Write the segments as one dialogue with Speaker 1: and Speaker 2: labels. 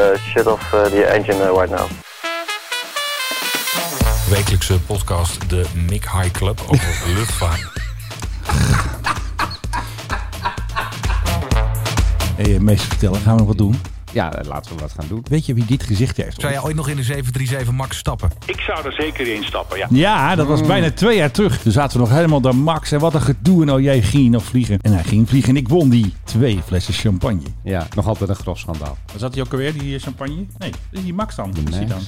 Speaker 1: Uh, shut off uh, the engine uh, right now.
Speaker 2: Wekelijkse podcast, de Mick High Club over luchtvaart.
Speaker 3: Hey, eh, meester vertellen, gaan we nog wat doen?
Speaker 4: Ja, eh, laten we wat gaan doen.
Speaker 3: Weet je wie dit gezicht heeft?
Speaker 2: Zou jij ooit nog in de 737 Max stappen?
Speaker 5: Ik zou er zeker in stappen, ja.
Speaker 3: Ja, dat was bijna twee jaar terug. Toen zaten we nog helemaal daar Max. En wat een gedoe. En oh jij ging nog vliegen. En hij ging vliegen. En ik won die twee flessen champagne.
Speaker 4: Ja, nog altijd een grof schandaal.
Speaker 3: Zat hij ook alweer, die eh, champagne? Nee, die Max dan. Is die dan?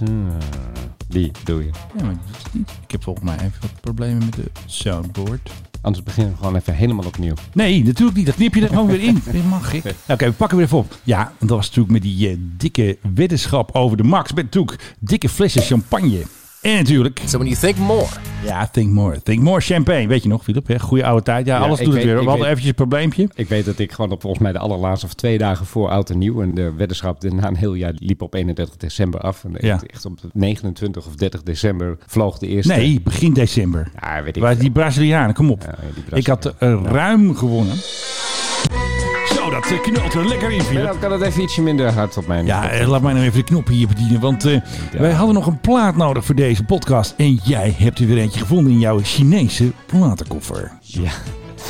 Speaker 4: Die Hm. doe je.
Speaker 3: Ja, maar dat is niet. Ik heb volgens mij even wat problemen met de soundboard.
Speaker 4: Anders beginnen we gewoon even helemaal opnieuw.
Speaker 3: Nee, natuurlijk niet. Dat knip je er gewoon weer in. Dat mag ik. Oké, we pakken weer even op. Ja, en dat was natuurlijk met die eh, dikke weddenschap over de Max. Met natuurlijk dikke flessen champagne. En natuurlijk...
Speaker 6: So when you think more,
Speaker 3: Ja, think more. Think more champagne. Weet je nog, Filip? hè? Goede oude tijd. Ja,
Speaker 4: Ja,
Speaker 3: alles
Speaker 4: ik
Speaker 3: doet het
Speaker 4: weet-
Speaker 3: weer. We
Speaker 4: ik
Speaker 3: hadden
Speaker 4: weet-
Speaker 3: eventjes een probleempje.
Speaker 4: Ik weet dat ik gewoon op volgens mij de allerlaatste of twee dagen voor oud en nieuw. En de weddenschap de- na een heel jaar liep op 31 december af. En echt,
Speaker 3: Ja.
Speaker 4: echt op 29 of 30 december vloog de eerste.
Speaker 3: Nee, begin december.
Speaker 4: Ja, weet ik
Speaker 3: Waar
Speaker 4: veel.
Speaker 3: die Brazilianen, kom op.
Speaker 4: Ja, die Brazilianen.
Speaker 3: Ik had eh, ruim gewonnen. Zo, dat eh, knalt er lekker in, Filip.
Speaker 4: Menno, kan het even ietsje minder hard op mijn...
Speaker 3: Ja, eh, laat mij nou even de knop hier bedienen. Want eh, wij hadden nog een plaat nodig voor deze podcast. En jij hebt er weer eentje gevonden in jouw Chinese platenkoffer.
Speaker 4: Ja.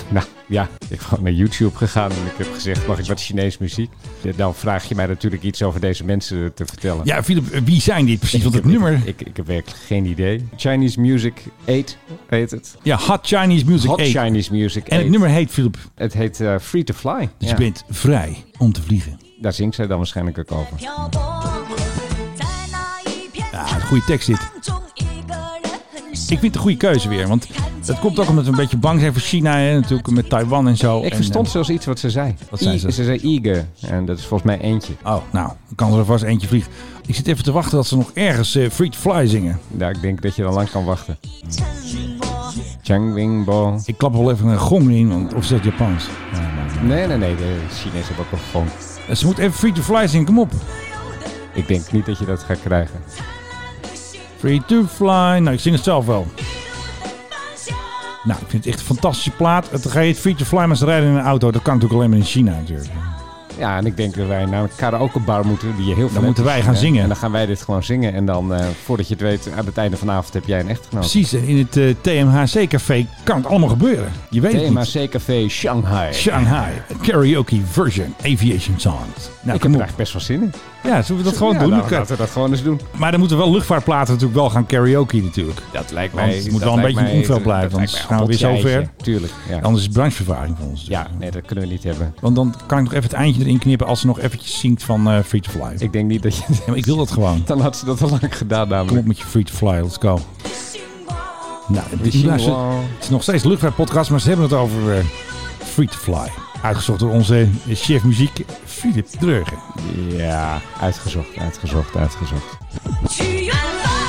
Speaker 4: Nou, ja. Ik ben gewoon naar YouTube gegaan en ik heb gezegd, mag ik wat Chinees muziek? Ja, Dan vraag je mij natuurlijk iets over deze mensen te vertellen.
Speaker 3: Ja, Filip, eh, wie zijn dit precies? Want het nummer...
Speaker 4: Ik, ik heb werkelijk geen idee. Chinese Music 8 heet het.
Speaker 3: Ja, Hot Chinese Music
Speaker 4: Hot
Speaker 3: 8.
Speaker 4: Chinese Music 8.
Speaker 3: En het nummer heet, Filip,
Speaker 4: Het heet eh, Free to Fly.
Speaker 3: dus
Speaker 4: Ja.
Speaker 3: je bent vrij om te vliegen.
Speaker 4: Daar zingt zij dan waarschijnlijk ook over.
Speaker 7: 漂泊在那一片
Speaker 3: Ja, een goede tekst dit.
Speaker 7: 苍茫中，一个人很
Speaker 3: Ik vind het een goede keuze weer, want dat komt ook omdat we een beetje bang zijn voor China en natuurlijk met Taiwan en zo.
Speaker 4: Ik
Speaker 3: En,
Speaker 4: verstond
Speaker 3: eh,
Speaker 4: zelfs iets wat ze zei.
Speaker 3: Wat zei
Speaker 4: I-
Speaker 3: ze?
Speaker 4: Ze zei eager. En dat is volgens mij eentje.
Speaker 3: Oh, nou, dan kan er vast eentje vliegen. Ik zit even te wachten dat ze nog ergens eh, Free to Fly zingen.
Speaker 4: Ja, ik denk dat je dan lang kan wachten.
Speaker 7: 沉默。
Speaker 4: Chang Wing Bo.
Speaker 3: Ik klap wel even een gong in, want, of is dat Japans?
Speaker 4: Nee, nee, nee. De Chinezen hebben ook wel gewoon.
Speaker 3: Eh, Ze moet even Free to Fly zingen, kom op.
Speaker 4: Ik denk niet dat je dat gaat krijgen.
Speaker 3: Free to Fly. Nou, ik zing het zelf wel. Nou, ik vind het echt een fantastische plaat. Het heet Free to Fly, maar ze rijden in een auto. Dat kan natuurlijk alleen maar in China natuurlijk.
Speaker 4: Ja, en ik denk dat wij naar een karaokebar moeten die je heel veel...
Speaker 3: Dan moeten wij gaan zingen.
Speaker 4: En dan gaan wij dit gewoon zingen. En dan, eh, voordat je het weet, aan het einde vanavond heb jij een echtgenoot.
Speaker 3: Precies, en in het eh, TMHC-café kan het allemaal gebeuren. Je weet het
Speaker 4: Thema
Speaker 3: niet.
Speaker 4: CKV Shanghai.
Speaker 3: Shanghai, a karaoke version, aviation songs. Nou,
Speaker 4: ik heb
Speaker 3: kom
Speaker 4: er
Speaker 3: op.
Speaker 4: eigenlijk best wel zin in.
Speaker 3: Ja, zullen we dat gewoon
Speaker 4: Ja,
Speaker 3: doen?
Speaker 4: nou,
Speaker 3: Luca?
Speaker 4: Laten we dat gewoon eens doen.
Speaker 3: Maar dan moeten we wel luchtvaartplaten natuurlijk wel gaan karaoke natuurlijk.
Speaker 4: Dat lijkt
Speaker 3: Want
Speaker 4: mij...
Speaker 3: het moet
Speaker 4: dat
Speaker 3: wel een
Speaker 4: lijkt
Speaker 3: beetje
Speaker 4: mij-
Speaker 3: in het veld
Speaker 4: dat
Speaker 3: blijven,
Speaker 4: lijkt
Speaker 3: anders
Speaker 4: mij
Speaker 3: gaan we weer zo
Speaker 4: appeltje, Tuurlijk, ja.
Speaker 3: Anders is het branchevervaring voor ons. dus.
Speaker 4: Ja, nee, dat kunnen we niet hebben.
Speaker 3: Want dan kan ik nog even het eindje erin knippen als ze nog eventjes zingt van eh, Free to Fly.
Speaker 4: Ik denk niet dat je...
Speaker 3: Ja, maar ik wil dat gewoon.
Speaker 4: Dan had ze dat al lang gedaan
Speaker 3: Kom op
Speaker 4: namelijk.
Speaker 3: met je Free to Fly, let's go. Nou, dit
Speaker 4: zien
Speaker 3: luistert-
Speaker 4: wel.
Speaker 3: het is nog steeds luchtvaartpodcast, maar ze hebben het over eh, Free to Fly. Uitgezocht door onze chef muziek, Philip Dreugen.
Speaker 4: Ja, uitgezocht, uitgezocht, uitgezocht.
Speaker 7: 去远方，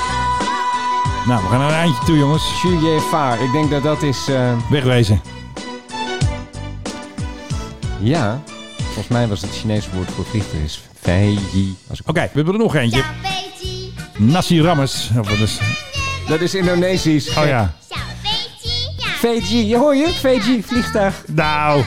Speaker 3: Nou, we gaan naar een eindje toe, jongens.
Speaker 4: Xu Ye Fa, ik denk dat dat is... eh,
Speaker 3: Wegwezen.
Speaker 4: ja, volgens mij was het Chinese woord voor vliegtuig is... Fei Yi. Als ik
Speaker 3: Oké, we hebben er nog eentje.
Speaker 7: 小飞机，
Speaker 3: Nassi Rammers. Of wat is...
Speaker 4: Oh, Dat is Indonesisch.
Speaker 3: Oh ja.
Speaker 7: 小飞机呀，
Speaker 4: Fiji, je hoor je? Fiji, vliegtuig.
Speaker 3: Nou,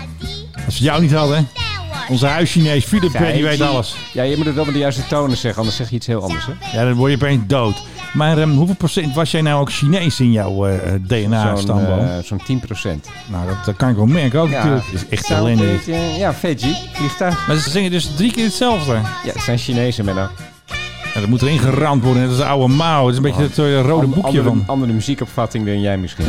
Speaker 3: als we jou niet hadden.
Speaker 7: 带我
Speaker 3: Onze huischinees, Philip, eh, die weet alles.
Speaker 4: Ja, je moet het wel met de juiste tonen zeggen, anders zeg je iets heel anders. Hè?
Speaker 3: Ja, dan word je opeens dood. Maar ehm, hoeveel procent was jij nou ook Chinees in jouw eh, Ah,
Speaker 4: Zo'n
Speaker 3: DNA-stamboom?
Speaker 4: eh, zo'n 10 procent.
Speaker 3: nou, dat, dat kan ik wel merken ook natuurlijk. Het is echt alleen dit.
Speaker 4: Ja, Fiji, vliegtuig.
Speaker 3: Maar ze zingen dus drie keer hetzelfde.
Speaker 4: Ja, het zijn Chinezen, Menno.
Speaker 3: Ja, dat moet erin geramd worden. net als de oude Mao. Het is een beetje het eh, rode
Speaker 4: Ander-
Speaker 3: boekje
Speaker 4: andere,
Speaker 3: van.
Speaker 4: Andere muziekopvatting dan jij misschien.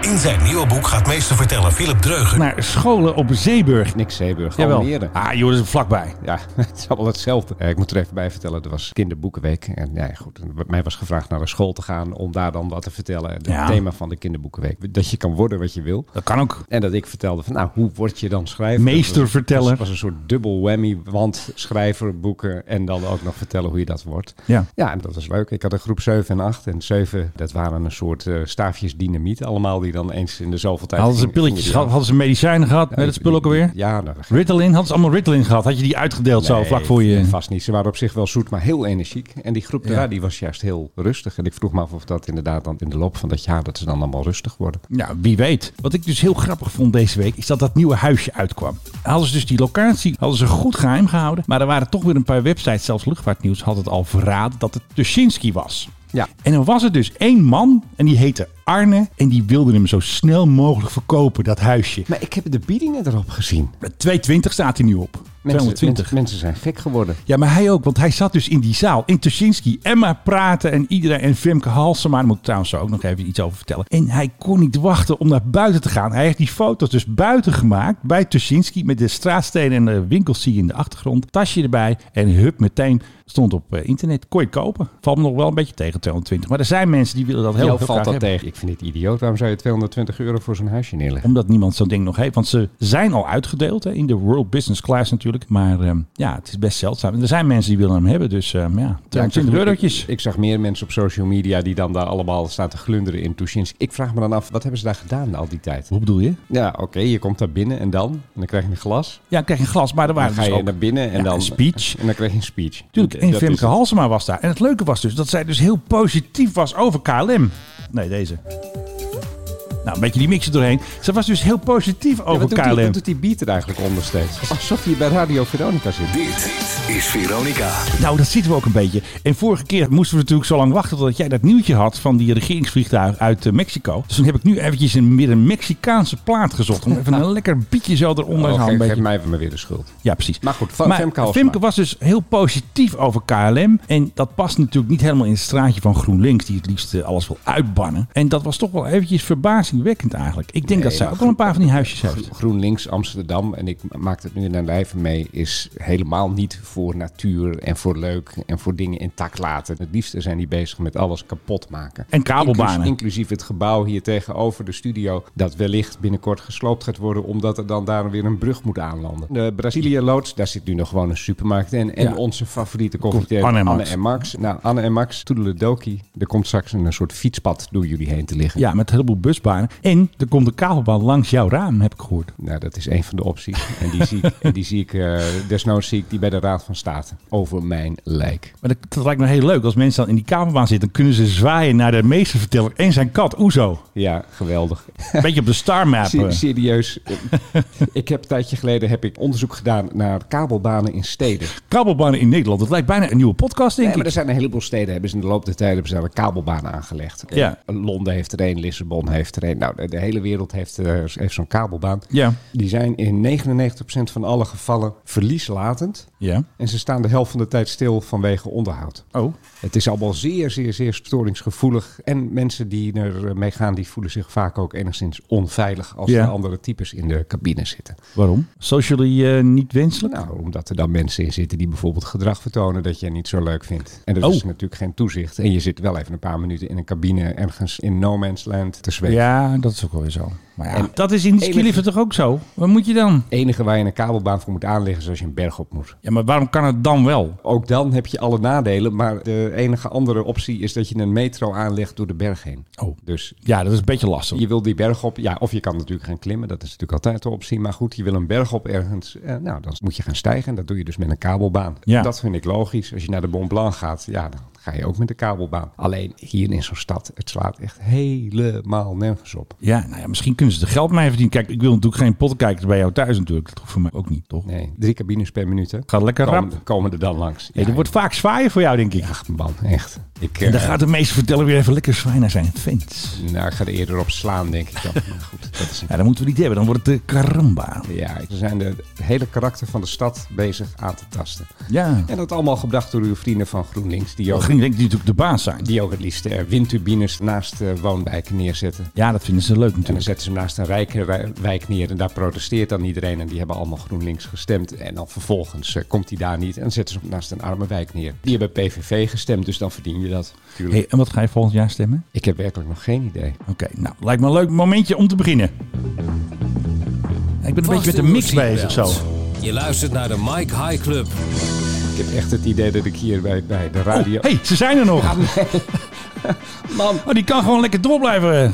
Speaker 8: In zijn nieuwe boek gaat meester vertellen Philip Dreugen
Speaker 3: Naar scholen op Zeeburg.
Speaker 4: Niks Zeeburg,
Speaker 3: Jawel.
Speaker 4: Almere.
Speaker 3: Ah joh, dat is vlakbij.
Speaker 4: Ja, het is allemaal hetzelfde. Eh, ik moet er even bij vertellen, er was kinderboekenweek. En ja, goed, mij was gevraagd naar een school te gaan om daar dan wat te vertellen. Het
Speaker 3: Ja.
Speaker 4: thema van de kinderboekenweek. Dat je kan worden wat je wil.
Speaker 3: Dat kan ook.
Speaker 4: En dat ik vertelde van, nou, hoe word je dan schrijver?
Speaker 3: Meester
Speaker 4: Dat was-
Speaker 3: verteller.
Speaker 4: Dat was een soort dubbel whammy, want schrijver, boeken en dan ook nog vertellen hoe je dat wordt.
Speaker 3: Ja.
Speaker 4: Ja, en dat was leuk. Ik had een groep 7 en 8. En 7, dat waren een soort eh, staafjes dynamiet allemaal die dan dan eens in de zoveel tijd...
Speaker 3: Hadden ze
Speaker 4: ging-
Speaker 3: pilletjes
Speaker 4: ging je
Speaker 3: gehad?
Speaker 4: die
Speaker 3: Hadden ze medicijnen gehad? Met
Speaker 4: aan.
Speaker 3: het spul ook alweer?
Speaker 4: Ja, nou,
Speaker 3: Ritalin? Hadden ze allemaal Ritalin gehad? Had je die uitgedeeld zo
Speaker 4: Nee,
Speaker 3: vlak voor je?
Speaker 4: Vast niet. Ze waren op zich wel zoet, maar heel energiek. En die groep daar, die was juist heel rustig. En ik vroeg me af of dat inderdaad dan in de loop van dat jaar, dat ze dan allemaal rustig worden.
Speaker 3: Nou, wie weet. Wat ik dus heel grappig vond deze week, is dat dat nieuwe huisje uitkwam. Hadden ze dus die locatie hadden ze goed geheim gehouden. Maar er waren toch weer een paar websites, zelfs Luchtvaartnieuws had het al verraden, dat het Tuschinski was.
Speaker 4: Ja.
Speaker 3: En dan was er dus één man en die heette Arne. En die wilde hem zo snel mogelijk verkopen, dat huisje.
Speaker 4: Maar ik heb de biedingen erop gezien.
Speaker 3: 220 staat hij nu op.
Speaker 4: Mensen,
Speaker 3: 220.
Speaker 4: mensen, mensen zijn gek geworden.
Speaker 3: Ja, maar hij ook, want hij zat dus in die zaal. In Tuschinski. En maar praten en iedereen. En Femke Halsema, daar moet ik trouwens zo ook nog even iets over vertellen. En hij kon niet wachten om naar buiten te gaan. Hij heeft die foto's dus buiten gemaakt bij Tuschinski. Met de straatstenen en de winkels zie je in de achtergrond. Tasje erbij. En hup, meteen stond op eh, internet. Kon je kopen. Valt me nog wel een beetje tegen, 220. Maar er zijn mensen die willen dat heel,
Speaker 4: Heel
Speaker 3: heel
Speaker 4: valt
Speaker 3: graag
Speaker 4: dat
Speaker 3: hebben.
Speaker 4: tegen. Ik vind het idioot. Waarom zou je 220 euro voor zo'n huisje neerleggen?
Speaker 3: Omdat niemand zo'n ding nog heeft. Want ze zijn al uitgedeeld hè, in de World Business Class natuurlijk. Maar ehm, ja, het is best zeldzaam. En er zijn mensen die willen hem hebben. Dus ehm, ja,
Speaker 4: Ja, ik zag-
Speaker 3: 220 eurotjes.
Speaker 4: Ik, ik zag meer mensen op social media die dan daar allemaal staan te glunderen in Tuschinsk. Ik vraag me dan af, wat hebben ze daar gedaan al die tijd?
Speaker 3: Hoe bedoel je?
Speaker 4: Ja, oké, je komt daar binnen en dan? En dan krijg je een glas.
Speaker 3: Ja, dan krijg je een glas, maar er
Speaker 4: Dan
Speaker 3: waren
Speaker 4: ga
Speaker 3: dus
Speaker 4: je
Speaker 3: ook...
Speaker 4: naar binnen en
Speaker 3: Ja,
Speaker 4: dan...
Speaker 3: een speech.
Speaker 4: En dan krijg je een speech.
Speaker 3: Natuurlijk, en
Speaker 4: Dat is
Speaker 3: Femke
Speaker 4: het.
Speaker 3: Halsema was daar. En het leuke was dus dat zij dus heel positief was over KLM. Nee, deze. Nou, een beetje die mix er doorheen. Ze was dus heel positief
Speaker 4: Ja,
Speaker 3: over
Speaker 4: wat doet die-
Speaker 3: KLM.
Speaker 4: wat doet die beat er eigenlijk onder steeds? Alsof je bij Radio Veronica zit.
Speaker 8: Dit is Veronica.
Speaker 3: Nou, dat zitten we ook een beetje. En vorige keer moesten we natuurlijk zo lang wachten totdat jij dat nieuwtje had van die regeringsvliegtuig uit eh, Mexico. Dus toen heb ik nu eventjes een meer een Mexicaanse plaat gezocht. Om even een lekker bietje zo eronder.
Speaker 4: Oh,
Speaker 3: zo een
Speaker 4: geef,
Speaker 3: beetje
Speaker 4: geef mij maar weer de schuld.
Speaker 3: Ja, precies.
Speaker 4: Maar goed, Fa- Femke Halsema.
Speaker 3: was dus heel positief over KLM. En dat past natuurlijk niet helemaal in het straatje van GroenLinks, die het liefst eh, alles wil uitbannen. En dat was toch wel eventjes verbazingwekkend eigenlijk. Ik denk dat zij
Speaker 4: maar
Speaker 3: ook wel een paar van die huisjes heeft.
Speaker 4: GroenLinks Amsterdam, en ik maak het nu naar lijve mee, is helemaal niet voor natuur en voor leuk en voor dingen intact laten. Het liefste zijn die bezig met alles kapot maken.
Speaker 3: En kabelbanen.
Speaker 4: Inclus- inclusief het gebouw hier tegenover de studio, dat wellicht binnenkort gesloopt gaat worden, omdat er dan daar weer een brug moet aanlanden. De Brazilië-loods, daar zit nu nog gewoon een supermarkt in. En
Speaker 3: Ja.
Speaker 4: onze favoriete koffietier,
Speaker 3: Anne
Speaker 4: Anne,
Speaker 3: en Max.
Speaker 4: en Max. Nou, Anne en Max, Toedeledoki, er komt straks een soort fietspad door jullie heen te liggen.
Speaker 3: Ja, met een heleboel busbanen. En er komt een kabelbaan langs jouw raam, heb ik gehoord.
Speaker 4: Nou, dat is een van de opties. En die zie ik, en die zie ik eh, desnoods zie ik die bij de Raad van State. Over mijn lijk.
Speaker 3: Maar dat, dat lijkt me heel leuk. Als mensen dan in die kabelbaan zitten, dan kunnen ze zwaaien naar de meesterverteller en zijn kat, Oezo.
Speaker 4: Ja, geweldig.
Speaker 3: Een beetje op de star map.
Speaker 4: Se-
Speaker 3: eh.
Speaker 4: serieus. eh, ik heb een tijdje geleden heb ik onderzoek gedaan naar kabelbanen in steden.
Speaker 3: Kabelbanen in Nederland. Dat lijkt bijna een nieuwe podcast, denk
Speaker 4: Nee, maar
Speaker 3: ik.
Speaker 4: er zijn een heleboel steden. Hebben ze in de loop der tijd hebben ze daar een kabelbaan aangelegd.
Speaker 3: Ja.
Speaker 4: Eh, Londen heeft er een, Lissabon heeft er een. Nou, de, de hele wereld heeft, eh, heeft zo'n kabelbaan.
Speaker 3: Ja.
Speaker 4: Die zijn in 99% van alle gevallen verlieslatend.
Speaker 3: Ja.
Speaker 4: En ze staan de helft van de tijd stil vanwege onderhoud.
Speaker 3: Oh.
Speaker 4: Het is allemaal zeer, zeer, zeer storingsgevoelig. En mensen die er eh, mee gaan, die voelen zich vaak ook enigszins onveilig als
Speaker 3: Ja.
Speaker 4: er andere types in de cabine zitten.
Speaker 3: Waarom? Socially eh, niet wenselijk?
Speaker 4: Nou, omdat er dan mensen in zitten die bijvoorbeeld gedrag vertonen dat jij niet zo leuk vindt. En er
Speaker 3: Oh.
Speaker 4: is natuurlijk geen toezicht. En je zit wel even een paar minuten in een cabine ergens in no man's land te zweven.
Speaker 3: Ja, dat is ook wel weer zo. Maar ja,
Speaker 4: En-
Speaker 3: dat is in die
Speaker 4: Enig-
Speaker 3: skiliften toch ook zo? Wat moet je dan?
Speaker 4: Het enige waar je een kabelbaan voor moet aanleggen is als je een berg op moet.
Speaker 3: Ja, maar waarom kan het dan wel?
Speaker 4: Ook dan heb je alle nadelen, maar de enige andere optie is dat je een metro aanlegt door de berg heen.
Speaker 3: Oh.
Speaker 4: Dus
Speaker 3: Ja, dat is een beetje lastig.
Speaker 4: Je wil die berg op, ja, of je kan natuurlijk gaan klimmen, dat is natuurlijk altijd de optie. Maar goed, je wil een berg op ergens, eh, nou, dan moet je gaan stijgen. En dat doe je dus met een kabelbaan.
Speaker 3: Ja.
Speaker 4: Dat vind ik logisch. Als je naar de Mont Blanc gaat, ja, dan ga je ook met de kabelbaan. Alleen hier in zo'n stad, het slaat echt helemaal nergens op.
Speaker 3: Ja, nou ja, misschien kunnen ze er geld mee verdienen. Kijk, ik wil natuurlijk geen pottenkijkers bij jou thuis natuurlijk. Dat hoeft voor mij ook niet, toch?
Speaker 4: Nee, drie cabines per minuut, hè.
Speaker 3: Gaat lekker rap.
Speaker 4: Komen, komen er dan langs.
Speaker 3: Hey, er wordt vaak zwaaien voor jou, denk ik.
Speaker 4: Ach, man, echt. Ik,
Speaker 3: en dan
Speaker 4: eh,
Speaker 3: gaat de meester vertellen weer even lekker zwaaien naar zijn fans.
Speaker 4: nou, ik ga er eerder op slaan, denk ik dan. Maar goed, dat is een
Speaker 3: Ja, dat moeten we niet hebben. Dan wordt het de karamba.
Speaker 4: ja, ze zijn de- het hele karakter van de stad bezig aan te tasten.
Speaker 3: Ja.
Speaker 4: En dat allemaal gebracht door uw vrienden van GroenLinks, die ook,
Speaker 3: Ging denk ik die natuurlijk de baas zijn.
Speaker 4: die ook het liefst eh, windturbines naast eh, woonwijken neerzetten.
Speaker 3: Ja, dat vinden ze leuk
Speaker 4: En dan
Speaker 3: natuurlijk.
Speaker 4: zetten ze hem naast een rijke wij- wijk neer en daar protesteert dan iedereen. En die hebben allemaal GroenLinks gestemd. En dan vervolgens eh, komt hij daar niet en dan zetten ze hem naast een arme wijk neer. Die hebben PVV gestemd, dus dan verdien je dat. Tuurlijk.
Speaker 3: Hey, en wat ga je volgend jaar stemmen?
Speaker 4: Ik heb werkelijk nog geen idee.
Speaker 3: Oké, nou, lijkt me een leuk momentje om te beginnen. Ik ben een beetje met de mix bezig zo. Oh,
Speaker 8: Je luistert naar de Mike High Club.
Speaker 4: Ik heb echt het idee dat ik hier bij, bij de radio...
Speaker 3: Oh, hey, ze zijn er nog.
Speaker 4: Man,
Speaker 3: Oh, die kan gewoon lekker door blijven.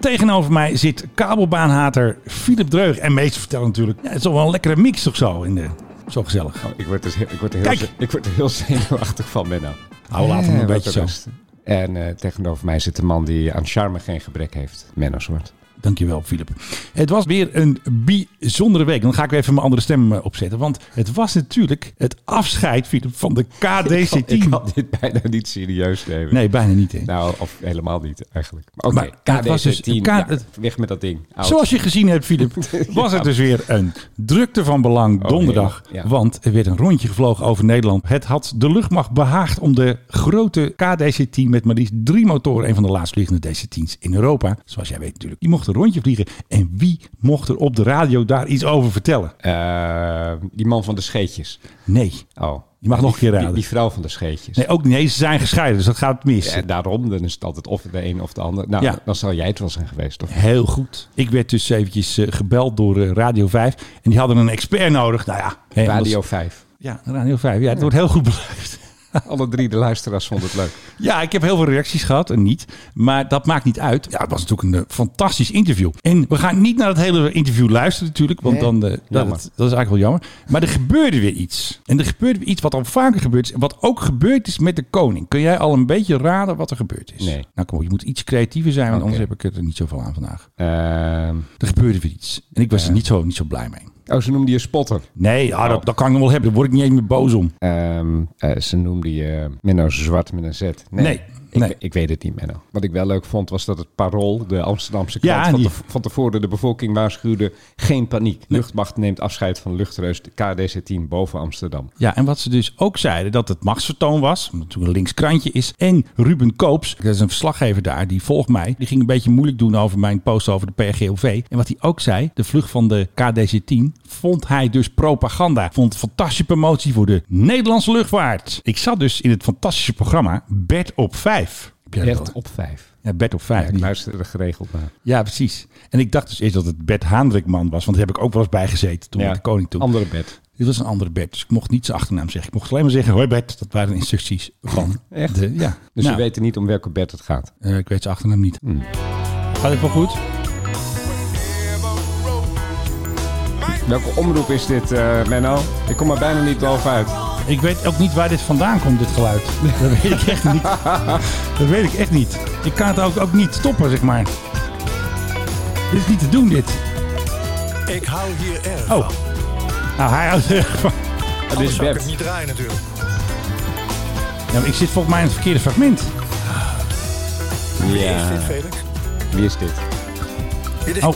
Speaker 3: Tegenover mij zit kabelbaanhater Philip Dreug. En meester vertellen natuurlijk. Ja, het is toch wel een lekkere mix toch zo? In de, zo gezellig.
Speaker 4: Oh, ik, word er, heel- ik, word er heel,
Speaker 3: Kijk.
Speaker 4: ze- ik word er heel zenuwachtig van, Menno.
Speaker 3: Nou, laat hem
Speaker 4: Eh,
Speaker 3: een
Speaker 4: wat
Speaker 3: beetje zo.
Speaker 4: rust. En eh, tegenover mij zit de man die aan charme geen gebrek heeft. Menno Zwart.
Speaker 3: Dankjewel, Philip. Het was weer een bijzondere week. Dan ga ik weer even mijn andere stem eh, opzetten. Want het was natuurlijk het afscheid, Philip, van de
Speaker 4: Oh, Ik
Speaker 3: KDC-team.
Speaker 4: kan dit bijna niet serieus nemen.
Speaker 3: Nee, bijna niet. Hè.
Speaker 4: Nou, of helemaal niet eigenlijk. Maar Oké,
Speaker 3: Maar het was dus-
Speaker 4: KDC 10.
Speaker 3: K-
Speaker 4: ja,
Speaker 3: het-
Speaker 4: weg met dat ding. Oud.
Speaker 3: Zoals je gezien hebt, Filip, was het dus weer een drukte van belang
Speaker 4: Oh,
Speaker 3: donderdag.
Speaker 4: heel, ja.
Speaker 3: Want er werd een rondje gevlogen over Nederland. Het had de luchtmacht behaagd om de grote KDC-10 met maar liefst drie motoren, een van de laatstliggende DC-10's in Europa. Zoals jij weet natuurlijk. Die mocht een rondje vliegen. En wie mocht er op de radio daar iets over vertellen?
Speaker 4: Eh, die man van de scheetjes.
Speaker 3: Nee.
Speaker 4: Oh.
Speaker 3: Je mag nog een keer
Speaker 4: Die-
Speaker 3: raden.
Speaker 4: Die, vrouw van de scheetjes.
Speaker 3: Nee, ook niet. Nee, ze zijn gescheiden, dus dat gaat mis.
Speaker 4: En daarom, dan is het altijd of de een of de ander. Nou,
Speaker 3: Ja.
Speaker 4: dan zal jij het wel zijn geweest, toch?
Speaker 3: Heel goed. Ik werd dus eventjes eh, gebeld door eh, Radio 5. En die hadden een expert nodig. Nou ja. hè, anders-
Speaker 4: Radio 5.
Speaker 3: Ja, Radio 5. Ja, het wordt heel goed beluisterd.
Speaker 4: Alle drie de luisteraars vonden het leuk.
Speaker 3: Ja, ik heb heel veel reacties gehad en niet. Maar dat maakt niet uit. Ja, het was natuurlijk een eh, fantastisch interview. En we gaan niet naar het hele interview luisteren natuurlijk. Want dan, eh, dat,
Speaker 4: jammer.
Speaker 3: dat is eigenlijk wel jammer. Maar er gebeurde weer iets. En er gebeurde weer iets wat al vaker gebeurd is. En wat ook gebeurd is met de koning. Kun jij al een beetje raden wat er gebeurd is?
Speaker 4: Nee.
Speaker 3: Nou kom op, je moet iets creatiever zijn. Want
Speaker 4: Oké.
Speaker 3: anders heb ik er niet zoveel aan vandaag.
Speaker 4: Ehm,
Speaker 3: Er gebeurde weer iets. En ik was er niet zo, niet zo blij mee.
Speaker 4: oh, ze noemde je spotter.
Speaker 3: Nee, ah,
Speaker 4: Oh.
Speaker 3: dat, dat kan ik nog wel hebben. Daar word ik niet eens meer boos om.
Speaker 4: Ehm, eh, ze noemde je Menno Zwart met een Z. Nee.
Speaker 3: Nee,
Speaker 4: Ik,
Speaker 3: nee.
Speaker 4: ik weet het niet, Menno. Wat ik wel leuk vond, was dat het Parool, de Amsterdamse
Speaker 3: Ja,
Speaker 4: krant, van,
Speaker 3: die-
Speaker 4: te- van tevoren de bevolking waarschuwde... geen paniek. Luchtmacht neemt afscheid van luchtreus KDC-10 boven Amsterdam.
Speaker 3: Ja, en wat ze dus ook zeiden, dat het machtsvertoon was, omdat het een links krantje is. En Ruben Koops, dat is een verslaggever daar, die volgt mij. Die ging een beetje moeilijk doen over mijn post over de PRGOV. En wat hij ook zei, de vlucht van de KDC-10 vond hij dus propaganda. Vond fantastische promotie voor de Nederlandse luchtvaart. Ik zat dus in het fantastische programma Bert op 5. Heb jij dat
Speaker 4: Echt
Speaker 3: al?
Speaker 4: op vijf.
Speaker 3: Ja, Bert op 5.
Speaker 4: Ja, ik luister er geregeld naar.
Speaker 3: ja, precies. En ik dacht dus eerst dat het Bert Haandrikman was, want daar heb ik ook wel eens bij gezeten toen
Speaker 4: Ja,
Speaker 3: met de koning toen.
Speaker 4: Andere bed.
Speaker 3: Dit was een andere Bert, dus ik mocht niet zijn achternaam zeggen. Ik mocht alleen maar zeggen, hoi Bert, dat waren instructies van
Speaker 4: Echt?
Speaker 3: de... Ja.
Speaker 4: Dus Hmm.
Speaker 3: Nou,
Speaker 4: we weten niet om welke bed het gaat.
Speaker 3: eh, ik weet zijn achternaam niet. Gaat het wel goed?
Speaker 4: Welke omroep is dit, eh, Menno? Ik kom er bijna niet bovenuit.
Speaker 3: Ik weet ook niet waar dit vandaan komt, dit geluid. Dat weet ik echt niet. Dat weet ik echt niet. Ik kan het ook, ook niet stoppen, zeg maar. Dit is niet te doen, dit.
Speaker 6: Ik hou hier erg van.
Speaker 3: Oh. Nou, hij houdt er echt van.
Speaker 4: Het is
Speaker 6: zou ik het
Speaker 4: bed.
Speaker 6: niet draaien natuurlijk.
Speaker 3: Ja, maar ik zit volgens mij in het verkeerde fragment.
Speaker 6: Is
Speaker 4: Ja.
Speaker 6: dit Felix?
Speaker 4: Wie is dit?
Speaker 6: Dit is
Speaker 3: Oh.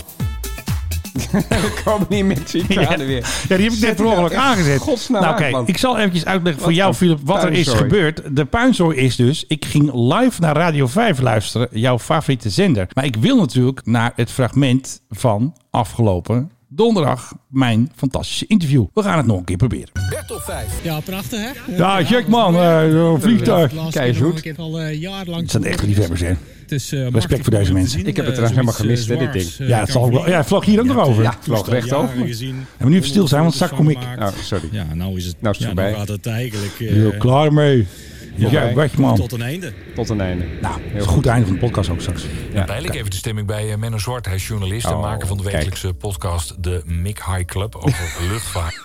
Speaker 4: We komen niet met Chicanen weer.
Speaker 3: Ja, die heb ik net
Speaker 4: Zet
Speaker 3: per
Speaker 4: die
Speaker 3: ongeluk
Speaker 4: nou echt
Speaker 3: aangezet.
Speaker 4: godsnaam
Speaker 3: nou,
Speaker 4: aan,
Speaker 3: kijk,
Speaker 4: man.
Speaker 3: ik zal eventjes uitleggen voor
Speaker 4: Wat
Speaker 3: jou,
Speaker 4: een
Speaker 3: Philip, wat er is
Speaker 4: puinzooi.
Speaker 3: gebeurd. De puinzooi is dus, ik ging live naar Radio 5 luisteren, jouw favoriete zender. Maar ik wil natuurlijk naar het fragment van afgelopen donderdag, mijn fantastische interview. We gaan het nog een keer proberen.
Speaker 6: Bert op 5.
Speaker 9: Ja, prachtig hè?
Speaker 3: Ja, check man, eh, vliegtuig.
Speaker 9: Laatste
Speaker 4: Kijk,
Speaker 9: keer nog
Speaker 4: goed.
Speaker 9: een keer al eh, jarenlang.
Speaker 3: Het zijn echt liefhebbers, hè?
Speaker 9: Het is, eh,
Speaker 3: Respect
Speaker 9: machtig
Speaker 3: voor deze
Speaker 9: om te
Speaker 3: mensen.
Speaker 9: zien.
Speaker 4: Ik heb het
Speaker 9: Eh,
Speaker 4: trouwens helemaal
Speaker 9: zoiets,
Speaker 4: gemist, hè,
Speaker 9: eh,
Speaker 4: dit
Speaker 9: zwaars,
Speaker 4: ding.
Speaker 9: eh,
Speaker 3: Ja, het zal ook
Speaker 9: kan
Speaker 3: wel, ja,
Speaker 9: vliegen.
Speaker 3: het vlag hier ook nog over.
Speaker 4: Ja, vloog
Speaker 9: Toestel
Speaker 4: recht over.
Speaker 9: jaren gezien.
Speaker 3: En nu even stil zijn, want straks kom ik.
Speaker 9: Gemaakt.
Speaker 4: Oh, sorry.
Speaker 9: Ja, nou is het,
Speaker 4: Nou is het
Speaker 9: ja,
Speaker 4: voorbij.
Speaker 9: gaat het eigenlijk eh,
Speaker 3: Heel klaar mee. Ja,
Speaker 4: Voorbij.
Speaker 3: weg man.
Speaker 9: tot een einde.
Speaker 4: Tot een einde.
Speaker 3: Nou, het is een goed einde van de podcast ook straks.
Speaker 2: Uiteindelijk even de stemming bij eh, Menno Zwart. Hij is journalist en
Speaker 4: Oh,
Speaker 2: maker van de
Speaker 4: kijk.
Speaker 2: wekelijkse podcast... de Mick High Club over luchtvaart.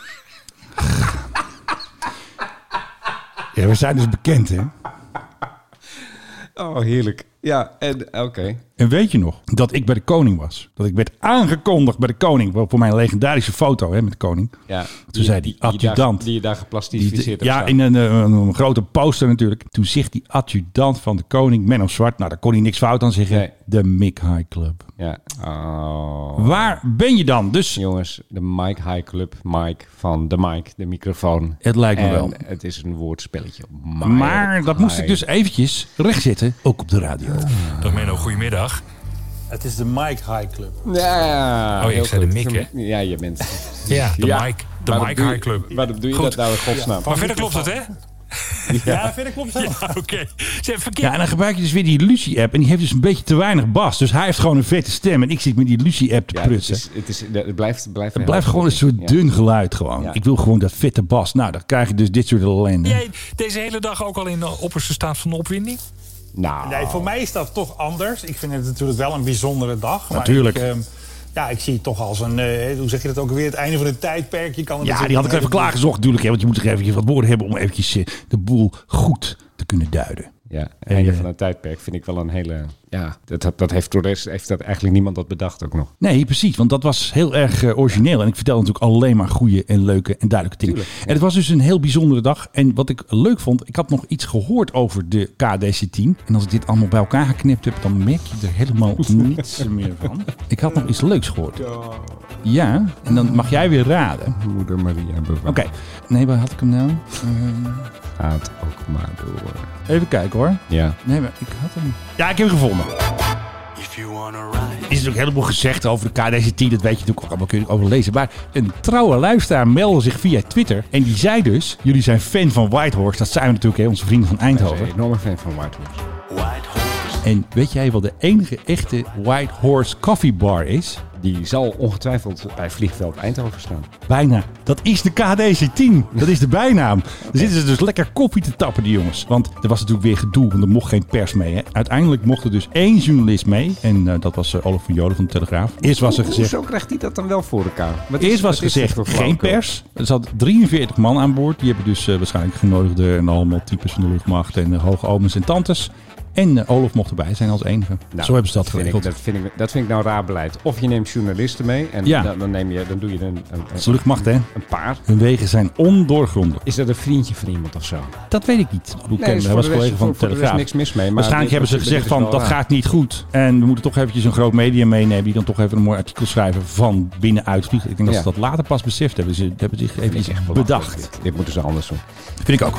Speaker 3: Ja, we zijn dus bekend, hè?
Speaker 4: Oh, heerlijk. Ja, en oké.
Speaker 3: En weet je nog dat ik bij de koning was? Dat ik werd aangekondigd bij de koning. Wel Voor mijn legendarische foto hè, met de koning.
Speaker 4: Ja.
Speaker 3: Toen zei die adjudant.
Speaker 4: daar- Die je daar
Speaker 3: Die-
Speaker 4: geplastificeerd hebt
Speaker 3: ja,
Speaker 4: staan.
Speaker 3: in een, eh, een, een grote poster natuurlijk. Toen zegt die adjudant van de koning, Menno Zwart. Nou, daar kon hij niks fout aan zeggen.
Speaker 4: Nee.
Speaker 3: De Mick High Club.
Speaker 4: Ja. Oh.
Speaker 3: Waar ben je dan? Dus
Speaker 4: Jongens, de Mike High Club. Mike van de Mike, de microfoon.
Speaker 3: Het lijkt me
Speaker 4: En
Speaker 3: wel.
Speaker 4: Het is een woordspelletje.
Speaker 3: maar dat moest ik dus eventjes rechtzetten, ook op de radio.
Speaker 2: Dag Menno, goedemiddag.
Speaker 10: Het is de Mike High Club.
Speaker 4: Ja,
Speaker 2: Oh, ik
Speaker 4: heel
Speaker 2: zei
Speaker 4: goed.
Speaker 2: de Mick, hè?
Speaker 4: Ja, je bent...
Speaker 2: Ja. De
Speaker 4: Ja.
Speaker 2: Mike, de
Speaker 4: Waarom
Speaker 2: Mike
Speaker 4: doe je-
Speaker 2: High Club.
Speaker 4: Waarom doe je
Speaker 2: Goed.
Speaker 4: dat nou in godsnaam?
Speaker 2: Maar verder klopt het, hè?
Speaker 10: Ja, verder klopt het helemaal.
Speaker 2: Oké. Ze hebben verkeerd.
Speaker 3: Ja, en dan gebruik je dus weer die illusie-app. En die heeft dus een beetje te weinig bas. Dus hij heeft gewoon een vette stem. En ik zit met die illusie-app te
Speaker 4: Ja, het,
Speaker 3: prutsen.
Speaker 4: is, het, is, het blijft, blijft,
Speaker 3: Het blijft gewoon een soort
Speaker 4: Ja.
Speaker 3: dun geluid gewoon.
Speaker 4: Ja.
Speaker 3: Ik wil gewoon dat vette bas. Nou, dan krijg je dus dit soort ellende.
Speaker 2: Jij deze hele dag ook al in de opperste staat van opwinding?
Speaker 4: Nou,
Speaker 10: Nee, voor mij is dat toch anders. Ik vind het natuurlijk wel een bijzondere dag. maar
Speaker 3: Natuurlijk.
Speaker 10: ik, ehm, ja, ik zie het toch als een, eh, hoe zeg je dat ook weer, het einde van het tijdperk. Je kan er
Speaker 3: Ja,
Speaker 10: natuurlijk
Speaker 3: die had ik
Speaker 10: een
Speaker 3: even
Speaker 10: heleboel-
Speaker 3: klaargezocht natuurlijk. Hè, want je moet toch eventjes wat woorden hebben om eventjes eh, de boel goed te kunnen duiden.
Speaker 4: ja, einde
Speaker 3: eh,
Speaker 4: van een tijdperk vind ik wel een hele... Ja, dat, dat heeft door de rest heeft dat eigenlijk niemand dat bedacht ook nog.
Speaker 3: Nee, precies. Want dat was heel erg eh, origineel. En ik vertelde natuurlijk alleen maar goede en leuke en duidelijke dingen. En het was dus een heel bijzondere dag. En wat ik leuk vond, ik had nog iets gehoord over de KDC-10. En als ik dit allemaal bij elkaar geknipt heb, dan merk je er helemaal niets meer van. Ik had nog iets leuks gehoord. Ja, en dan mag jij weer raden.
Speaker 4: Moeder Maria bewaart
Speaker 3: Oké, nee, waar had ik hem nou? Eh,
Speaker 4: gaat ook maar door.
Speaker 3: even kijken hoor.
Speaker 4: Ja.
Speaker 3: Nee, maar ik had hem. Ja, ik heb hem gevonden. Er is natuurlijk heleboel gezegd over de KDC-10. Dat weet je natuurlijk ook allemaal, kun je over lezen. Maar een trouwe luisteraar meldde zich via Twitter. En die zei dus, jullie zijn fan van Whitehorse. Dat zijn we natuurlijk, hè, onze vrienden van
Speaker 4: Ik ben
Speaker 3: Eindhoven.
Speaker 4: een enorme fan van Whitehorse.
Speaker 3: En weet jij wat de enige echte Whitehorse Coffee Bar is?
Speaker 4: Die zal ongetwijfeld bij vliegveld Eindhoven staan.
Speaker 3: Bijna. Dat is de KDC-10. Dat is de bijnaam. Dan zitten ze dus lekker koffie te tappen, die jongens. Want er was natuurlijk weer gedoe, want er mocht geen pers mee. Hè. Uiteindelijk mocht er dus één journalist mee. En eh, dat was eh, Olaf van Joden van de Telegraaf. Eerst was er gezegd...
Speaker 4: Hoezo krijgt hij dat dan wel voor elkaar? Wat is-
Speaker 3: Eerst was
Speaker 4: wat is dit
Speaker 3: gezegd
Speaker 4: voor
Speaker 3: geen
Speaker 4: flauwekul?
Speaker 3: pers. Er zat 43 man aan boord. Die hebben dus eh, waarschijnlijk genodigden en allemaal types van de luchtmacht en eh, hoge omens en tantes. En eh, Olaf mocht erbij zijn als enige.
Speaker 4: Nou,
Speaker 3: Zo hebben ze dat
Speaker 4: vind ik-
Speaker 3: geregeld.
Speaker 4: dat, vind ik, dat vind ik nou raar beleid. Of je neemt journalisten mee en
Speaker 3: Ja.
Speaker 4: dan, dan, neem je, dan doe je een, een,
Speaker 3: is de luchtmacht, hè?
Speaker 4: een paar.
Speaker 3: Hun wegen zijn ondoorgrondelijk.
Speaker 4: Is dat een vriendje van iemand of zo?
Speaker 3: Dat weet ik niet. Hoe
Speaker 4: is
Speaker 3: kennen we?
Speaker 4: voor
Speaker 3: Hij was
Speaker 4: de rest-
Speaker 3: collega van de
Speaker 4: voor- voor de rest
Speaker 3: Telegraaf.
Speaker 4: niks mis mee, maar
Speaker 3: Waarschijnlijk
Speaker 4: dit-
Speaker 3: hebben ze
Speaker 4: dit- dit
Speaker 3: gezegd
Speaker 4: is
Speaker 3: van
Speaker 4: wel
Speaker 3: dat
Speaker 4: raar.
Speaker 3: gaat niet goed. En we moeten toch eventjes een groot medium meenemen die dan toch even een mooi artikel schrijven van binnenuit vliegen. Ik denk dat
Speaker 4: Ja.
Speaker 3: ze dat later pas beseft hebben. Ze hebben zich even iets bedacht.
Speaker 4: Dit, dit moeten ze anders doen.
Speaker 3: Vind ik ook.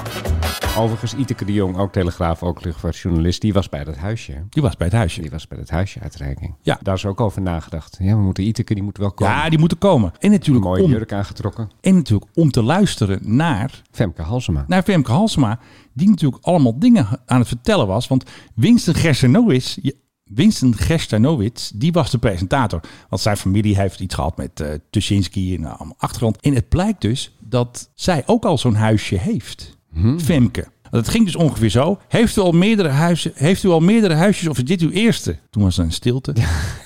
Speaker 4: Overigens, Iteke de Jong, ook telegraaf, ook luchtvaartjournalist, die was bij dat huisje. hè?
Speaker 3: Die was bij het huisje.
Speaker 4: Die was bij dat huisje uitreiking.
Speaker 3: Ja.
Speaker 4: Daar is ook over nagedacht. Ja, we moeten Iteke, die moet wel komen.
Speaker 3: Ja, die moeten komen. En natuurlijk,
Speaker 4: Mooie
Speaker 3: om,
Speaker 4: jurk aangetrokken.
Speaker 3: en natuurlijk om te luisteren naar,
Speaker 4: Femke Halsema.
Speaker 3: naar Femke Halsema. Die natuurlijk allemaal dingen aan het vertellen was. Want Winston Gerstenowitz... je- Winston Gerstanowitz, die was de presentator. Want zijn familie heeft iets gehad met eh Tuschinski en allemaal achtergrond. En het blijkt dus dat zij ook al zo'n huisje heeft. Femke. Want het ging dus ongeveer zo. Heeft u, al meerdere huizen, heeft u al meerdere huisjes of is dit uw eerste? Toen was er een stilte.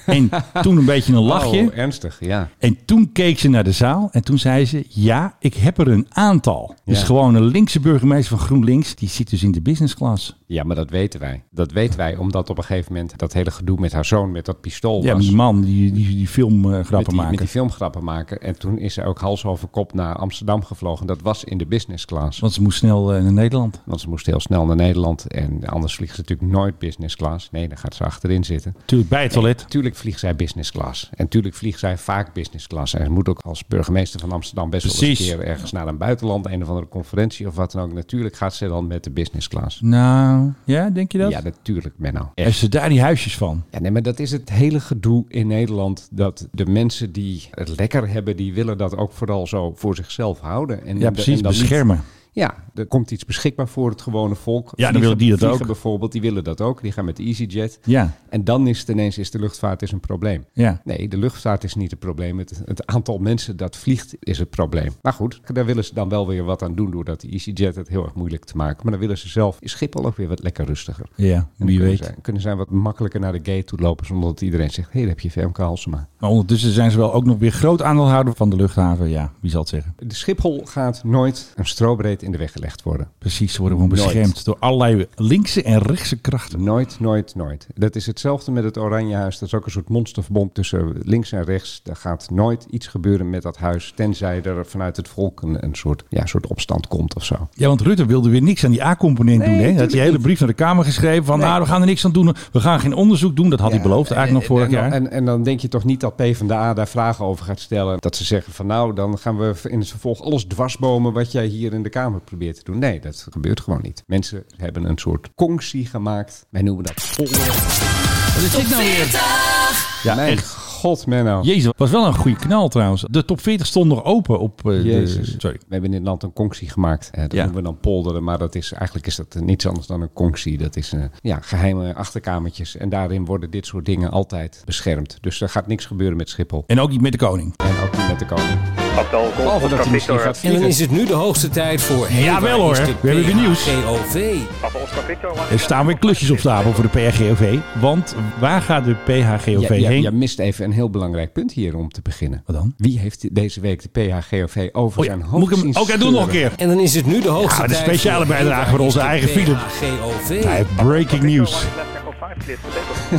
Speaker 3: En toen een beetje een lachje.
Speaker 4: Oh, ernstig, ja.
Speaker 3: En toen keek ze naar de zaal en toen zei ze: Ja, ik heb er een aantal. Dus
Speaker 4: Ja.
Speaker 3: gewoon een linkse burgemeester van GroenLinks, die zit dus in de business class.
Speaker 4: Ja, maar dat weten wij. Dat weten wij omdat op een gegeven moment dat hele gedoe met haar zoon met dat pistool
Speaker 3: Ja,
Speaker 4: was.
Speaker 3: die man die, die, die filmgrappen
Speaker 4: met, die,
Speaker 3: maken.
Speaker 4: met die filmgrappen maken. En toen is ze ook hals over kop naar Amsterdam gevlogen. Dat was in de business class.
Speaker 3: Want ze moest snel eh, naar Nederland.
Speaker 4: Want ze moest heel snel naar Nederland. En anders vliegt ze natuurlijk nooit business class. Nee, dan gaat ze achterin zitten.
Speaker 3: Natuurlijk bij het toilet.
Speaker 4: Tuurlijk vliegt zij business class. En tuurlijk vliegt zij vaak business class. En ze moet ook als burgemeester van Amsterdam best wel eens
Speaker 3: Precies.
Speaker 4: een keer ergens naar een buitenland. Een of andere conferentie of wat dan ook. Natuurlijk gaat ze dan met de business class.
Speaker 3: Nou, ja, denk je dat?
Speaker 4: Ja, natuurlijk, Menno.
Speaker 3: Heeft ze daar die huisjes van?
Speaker 4: Ja, nee, maar dat is het hele gedoe in Nederland. Dat de mensen die het lekker hebben, die willen dat ook vooral zo voor zichzelf houden. En,
Speaker 3: Ja, precies.
Speaker 4: en dan niet-
Speaker 3: Beschermen.
Speaker 4: ja, er komt iets beschikbaar voor het gewone volk.
Speaker 3: dan
Speaker 4: Vliegen-
Speaker 3: willen die dat
Speaker 4: vliegen
Speaker 3: ook.
Speaker 4: bijvoorbeeld, die willen dat ook. Die gaan met de EasyJet.
Speaker 3: Ja.
Speaker 4: En dan is het ineens is de luchtvaart is een probleem.
Speaker 3: Ja.
Speaker 4: Nee, de luchtvaart is niet het probleem. Het, het aantal mensen dat vliegt is het probleem. Maar goed, daar willen ze dan wel weer wat aan doen... doordat de EasyJet het heel erg moeilijk te maken. Maar dan willen ze zelf in Schiphol ook weer wat lekker rustiger.
Speaker 3: Ja,
Speaker 4: En
Speaker 3: wie
Speaker 4: kunnen
Speaker 3: weet.
Speaker 4: Zij, kunnen zij wat makkelijker naar de gate toe lopen zonder dat iedereen zegt: hé, hey, daar heb je Femke Halsema.
Speaker 3: Maar ondertussen zijn ze wel ook nog weer groot aandeelhouder van de luchthaven. Ja, wie zal het zeggen?
Speaker 4: De Schiphol gaat nooit een strobreed in de weg gelegd worden.
Speaker 3: Precies, ze worden gewoon
Speaker 4: Nooit.
Speaker 3: beschermd door allerlei linkse en rechtse krachten.
Speaker 4: Nooit, nooit, nooit. Dat is hetzelfde met het Oranjehuis. Dat is ook een soort monsterverbond tussen links en rechts. Er gaat nooit iets gebeuren met dat huis, tenzij er vanuit het volk een, een soort, ja, soort opstand komt of zo.
Speaker 3: Ja, want Rutte wilde weer niks aan die A-component doen. Hè? Hij had die hele brief naar de Kamer geschreven van... nou, we gaan er niks aan doen. We gaan geen onderzoek doen. Dat had hij beloofd eigenlijk nog vorig
Speaker 4: en,
Speaker 3: jaar.
Speaker 4: En, en dan denk je toch niet dat PvdA daar vragen over gaat stellen. Dat ze zeggen van nou, dan gaan we in het vervolg alles dwarsbomen wat jij hier in de Kamer probeert te doen. Nee, dat gebeurt gewoon niet. Mensen hebben een soort conctie gemaakt. Wij noemen dat polder.
Speaker 3: Wat is dit nou weer?
Speaker 4: Ja, mijn god, Menno.
Speaker 3: Jezus, was wel een goede knal trouwens. De top 40 stond nog open op... eh,
Speaker 4: Jezus.
Speaker 3: De, sorry.
Speaker 4: We hebben in dit land een conctie gemaakt. Eh, dat
Speaker 3: Ja.
Speaker 4: noemen we dan polderen, maar dat is, eigenlijk is dat eh, niets anders dan een conctie. Dat is eh, ja, geheime achterkamertjes. En daarin worden dit soort dingen altijd beschermd. Dus er gaat niks gebeuren met Schiphol.
Speaker 3: En ook niet met de koning.
Speaker 4: En ook niet met de koning.
Speaker 1: Abdel
Speaker 4: Behalve
Speaker 1: Golf,
Speaker 4: dat
Speaker 1: Oscar
Speaker 4: hij misschien
Speaker 1: Victor.
Speaker 4: gaat
Speaker 11: En dan
Speaker 4: vliegen.
Speaker 11: is het nu de hoogste tijd voor... Hey,
Speaker 3: Jawel,
Speaker 11: waar is
Speaker 3: hoor.
Speaker 11: de
Speaker 3: We hebben weer nieuws.
Speaker 11: PHGOV.
Speaker 1: Papa Oscar Victor.
Speaker 3: Er staan weer klusjes op stapel voor de PHGOV. Want waar gaat de PHGOV
Speaker 4: Ja, ja,
Speaker 3: heen?
Speaker 4: je mist even een heel belangrijk punt hier om te beginnen.
Speaker 3: Wat dan?
Speaker 4: Wie heeft deze week de PHGOV over
Speaker 3: Oh ja,
Speaker 4: zijn hoofd
Speaker 3: moet ik hem...
Speaker 4: zien
Speaker 3: Oké, doe nog een
Speaker 4: scheuren?
Speaker 3: keer.
Speaker 11: En dan is het nu de hoogste
Speaker 3: Ja, de
Speaker 11: tijd...
Speaker 3: speciale
Speaker 11: voor- Hey,
Speaker 3: bijdrage
Speaker 11: waar
Speaker 3: voor
Speaker 11: is
Speaker 3: onze
Speaker 11: de
Speaker 3: eigen Philip.
Speaker 11: PHGOV.
Speaker 3: Hij heeft breaking news.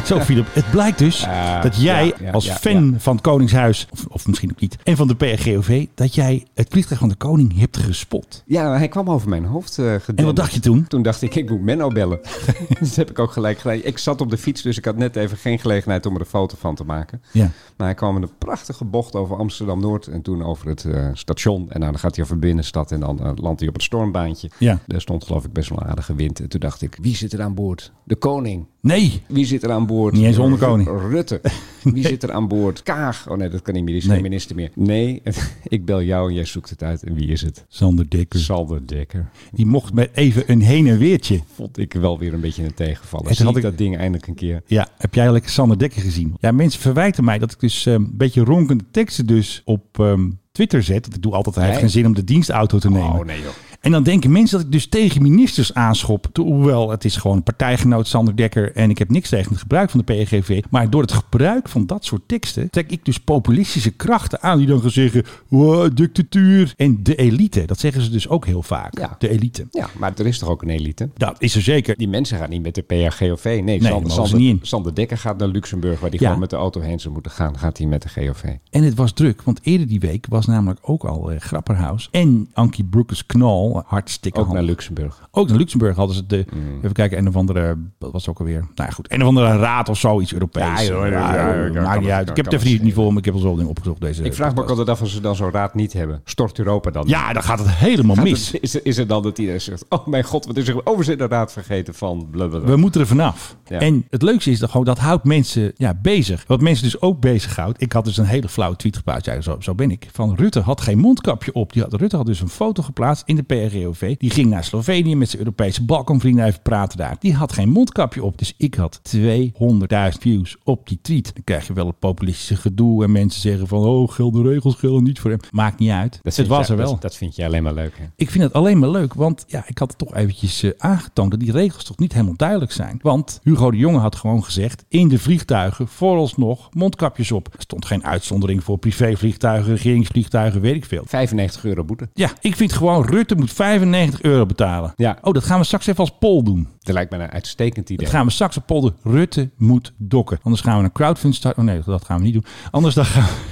Speaker 3: Zo, Philip, het blijkt dus
Speaker 4: Ja,
Speaker 3: dat jij
Speaker 4: ja, ja,
Speaker 3: als
Speaker 4: ja,
Speaker 3: fan van het Koningshuis, of, of misschien ook niet, en van de PRGOV, dat jij het vliegtuig van de koning hebt gespot.
Speaker 4: Ja, hij kwam over mijn hoofd eh gedonderd.
Speaker 3: En wat dacht je toen?
Speaker 4: Toen dacht ik, ik moet Menno bellen. dat heb ik ook gelijk gedaan. Ik zat op de fiets, dus ik had net even geen gelegenheid om er een foto van te maken.
Speaker 3: Ja.
Speaker 4: Maar hij kwam in een prachtige bocht over Amsterdam-Noord en toen over het eh, station. En nou, dan gaat hij over binnenstad en dan eh, landt hij op het stormbaantje.
Speaker 3: Ja.
Speaker 4: Daar stond geloof ik best wel aardige wind. En toen dacht ik, wie zit er aan boord? De koning.
Speaker 3: Nee,
Speaker 4: Wie zit er aan boord?
Speaker 3: Niet eens onder koning.
Speaker 4: R- Rutte. Wie zit er aan boord? Kaag. Oh nee, dat kan niet meer. Die is geen
Speaker 3: Nee.
Speaker 4: minister meer. Nee, ik bel jou en jij zoekt het uit. En wie is het?
Speaker 3: Sander Dekker.
Speaker 4: Salder Dekker.
Speaker 3: Die mocht met even een heen en weertje.
Speaker 4: Vond ik wel weer een beetje een tegenvaller.
Speaker 3: Het
Speaker 4: Zie
Speaker 3: had
Speaker 4: ik
Speaker 3: ik-
Speaker 4: dat ding eindelijk een keer.
Speaker 3: Ja, heb jij lekker Sander Dekker gezien? Ja, mensen verwijten mij dat ik dus eh, een beetje ronkende teksten dus op ehm, Twitter zet. Want ik doe altijd, hij heeft
Speaker 4: Nee.
Speaker 3: geen zin om de dienstauto te nemen.
Speaker 4: Oh nee joh.
Speaker 3: En dan denken mensen dat ik dus tegen ministers aanschop. Hoewel, het is gewoon partijgenoot Sander Dekker. En ik heb niks tegen het gebruik van de PGV. Maar door het gebruik van dat soort teksten trek ik dus populistische krachten aan. Die dan gaan zeggen, wow, dictatuur. En de elite, dat zeggen ze dus ook heel vaak.
Speaker 4: Ja.
Speaker 3: De elite.
Speaker 4: Ja, maar er is toch ook een elite?
Speaker 3: Dat is er zeker.
Speaker 4: Die mensen gaan niet met de PHGOV. Nee,
Speaker 3: daar mogen
Speaker 4: Sander,
Speaker 3: ze
Speaker 4: Sander,
Speaker 3: niet in.
Speaker 4: Sander Dekker gaat naar Luxemburg, waar die
Speaker 3: Ja.
Speaker 4: gewoon met de auto heen zou moeten gaan. Gaat hij met de GOV.
Speaker 3: En het was druk, want eerder die week was namelijk ook al eh, Grapperhaus. En Ankie Broekers Knol, eh, hartstikke
Speaker 4: Ook naar Mm.
Speaker 3: handig.
Speaker 4: Luxemburg.
Speaker 3: Ook naar Luxemburg hadden ze de, even kijken, een of andere, wat was het ook alweer? Nou ja, goed, een of andere raad of zo, iets Europees.
Speaker 4: Ja, joh, ja,
Speaker 3: Nou,
Speaker 4: ja, ja, ja,
Speaker 3: maakt
Speaker 4: kan
Speaker 3: niet uit.
Speaker 4: het- kan-
Speaker 3: Ik heb
Speaker 4: kan
Speaker 3: het even niet
Speaker 4: het
Speaker 3: niveau, maar ik heb al zo'n ding opgeroepen deze
Speaker 4: Ik vraag me ook
Speaker 3: podcast.
Speaker 4: altijd af als ze dan zo'n raad niet hebben. Stort Europa dan?
Speaker 3: Ja, dan gaat het helemaal
Speaker 4: Gaat
Speaker 3: mis.
Speaker 4: het- is, is het dan dat iedereen zegt, oh mijn god, wat is er over zijn raad vergeten van blablabla.
Speaker 3: We moeten er vanaf.
Speaker 4: Ja.
Speaker 3: En het leukste is dat gewoon, dat houdt mensen ja, bezig. Wat mensen dus ook bezighoudt. Ik had dus een hele flauwe tweet geplaatst. Ja, zo, zo ben ik. Van Rutte had geen mondkapje op. Die had, Rutte had dus een foto geplaatst in de PRGOV. Die ging naar Slovenië met zijn Europese balkanvrienden even praten daar. Die had geen mondkapje op. Dus ik had 200.000 views op die tweet. Dan krijg je wel het populistische gedoe. En mensen zeggen van, oh, gelden regels gelden niet voor hem. Maakt niet uit.
Speaker 4: Dat
Speaker 3: Dus het
Speaker 4: vind
Speaker 3: was
Speaker 4: jij-
Speaker 3: er wel.
Speaker 4: Dat, dat vind je alleen maar leuk. Hè?
Speaker 3: Ik vind het alleen maar leuk, want ja, ik had het toch eventjes eh, aangetoond dat die regels toch niet helemaal duidelijk zijn. Want Hugo de Jonge had gewoon gezegd, in de vliegtuigen vooralsnog mondkapjes op. Er stond geen uitzondering voor privévliegtuigen, regeringsvliegtuigen, weet ik veel.
Speaker 4: 95 euro boete.
Speaker 3: Ja, ik vind gewoon Rutte moet 95 euro betalen.
Speaker 4: Ja.
Speaker 3: Oh, dat gaan we straks even als poll doen.
Speaker 4: Dat lijkt me een uitstekend idee.
Speaker 3: Dat gaan we straks op polder. Rutte moet dokken. Anders gaan we een crowdfund starten. Oh nee, dat gaan we niet doen. Anders dan gaan we...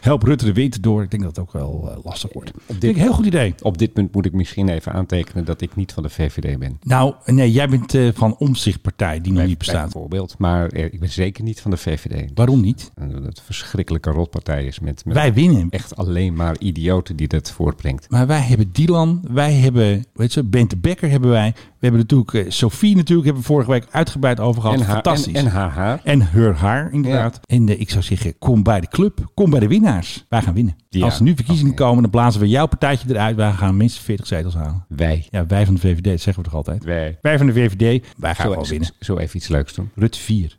Speaker 3: Help Rutte de winter door. Ik denk dat het ook wel eh, lastig wordt. Op dit... een heel goed idee.
Speaker 4: Op dit punt moet ik misschien even aantekenen dat ik niet van de VVD ben.
Speaker 3: Nou, nee, jij bent eh, van omzichtpartij die nog niet bestaat.
Speaker 4: Bijvoorbeeld. Maar eh, ik ben zeker niet van de VVD.
Speaker 3: Waarom niet?
Speaker 4: En Dat het een verschrikkelijke rotpartij is met, met
Speaker 3: Wij winnen.
Speaker 4: echt alleen maar idioten die dat voortbrengt.
Speaker 3: Maar wij hebben Dylan, wij hebben, weet je, Bente Becker hebben wij. We hebben natuurlijk eh, Sophie natuurlijk, hebben we vorige week uitgebreid over gehad.
Speaker 4: haar,
Speaker 3: Fantastisch.
Speaker 4: En, en haar haar.
Speaker 3: En her haar, inderdaad. En eh, ik zou zeggen, kom bij de club. Kom bij de winnaars. Wij gaan winnen.
Speaker 4: Ja.
Speaker 3: Als er nu verkiezingen komen, dan blazen we jouw partijtje eruit. Wij gaan minstens 40 zetels halen.
Speaker 4: Wij.
Speaker 3: Ja, wij van de VVD, dat zeggen we toch altijd?
Speaker 4: Wij.
Speaker 3: Wij van de VVD, wij gaan wel
Speaker 4: even-
Speaker 3: winnen.
Speaker 4: zo even iets leuks doen.
Speaker 3: Rut 4.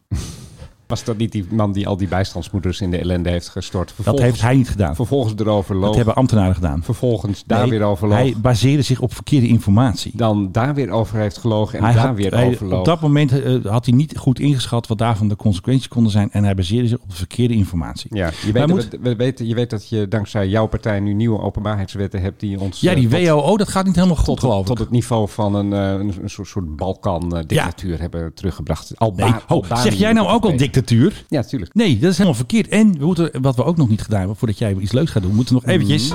Speaker 4: Was dat niet die man die al die bijstandsmoeders in de ellende heeft gestort?
Speaker 3: Dat
Speaker 4: Vervolgens-
Speaker 3: heeft hij niet gedaan.
Speaker 4: Vervolgens erover
Speaker 3: Dat
Speaker 4: loog.
Speaker 3: hebben ambtenaren gedaan.
Speaker 4: Vervolgens daar
Speaker 3: Nee,
Speaker 4: weer over loog.
Speaker 3: Hij baseerde zich op verkeerde informatie.
Speaker 4: Dan daar weer over heeft gelogen en
Speaker 3: hij
Speaker 4: daar
Speaker 3: had-
Speaker 4: weer
Speaker 3: hij-
Speaker 4: over loog.
Speaker 3: op dat moment eh, had hij niet goed ingeschat wat daarvan de consequenties konden zijn. En hij baseerde zich op de verkeerde informatie.
Speaker 4: Ja, je
Speaker 3: Wij
Speaker 4: weet,
Speaker 3: moeten-
Speaker 4: we, we weten, je weet dat je dankzij jouw partij nu nieuwe openbaarheidswetten hebt die ons...
Speaker 3: ja,
Speaker 4: eh,
Speaker 3: die
Speaker 4: tot-
Speaker 3: WOO, dat gaat niet helemaal goed,
Speaker 4: tot,
Speaker 3: geloof ik.
Speaker 4: tot het niveau van een, eh, een, een soort, soort Balkan-dictatuur hebben teruggebracht. Alba
Speaker 3: Nee, ho,
Speaker 4: Albanië
Speaker 3: zeg jij nou
Speaker 4: moet
Speaker 3: ook al
Speaker 4: het
Speaker 3: dictatuur?
Speaker 4: weten. Ja, tuurlijk.
Speaker 3: Nee, dat is helemaal verkeerd. En we moeten, wat we ook nog niet gedaan hebben, voordat jij iets leuks gaat doen, moeten we nog eventjes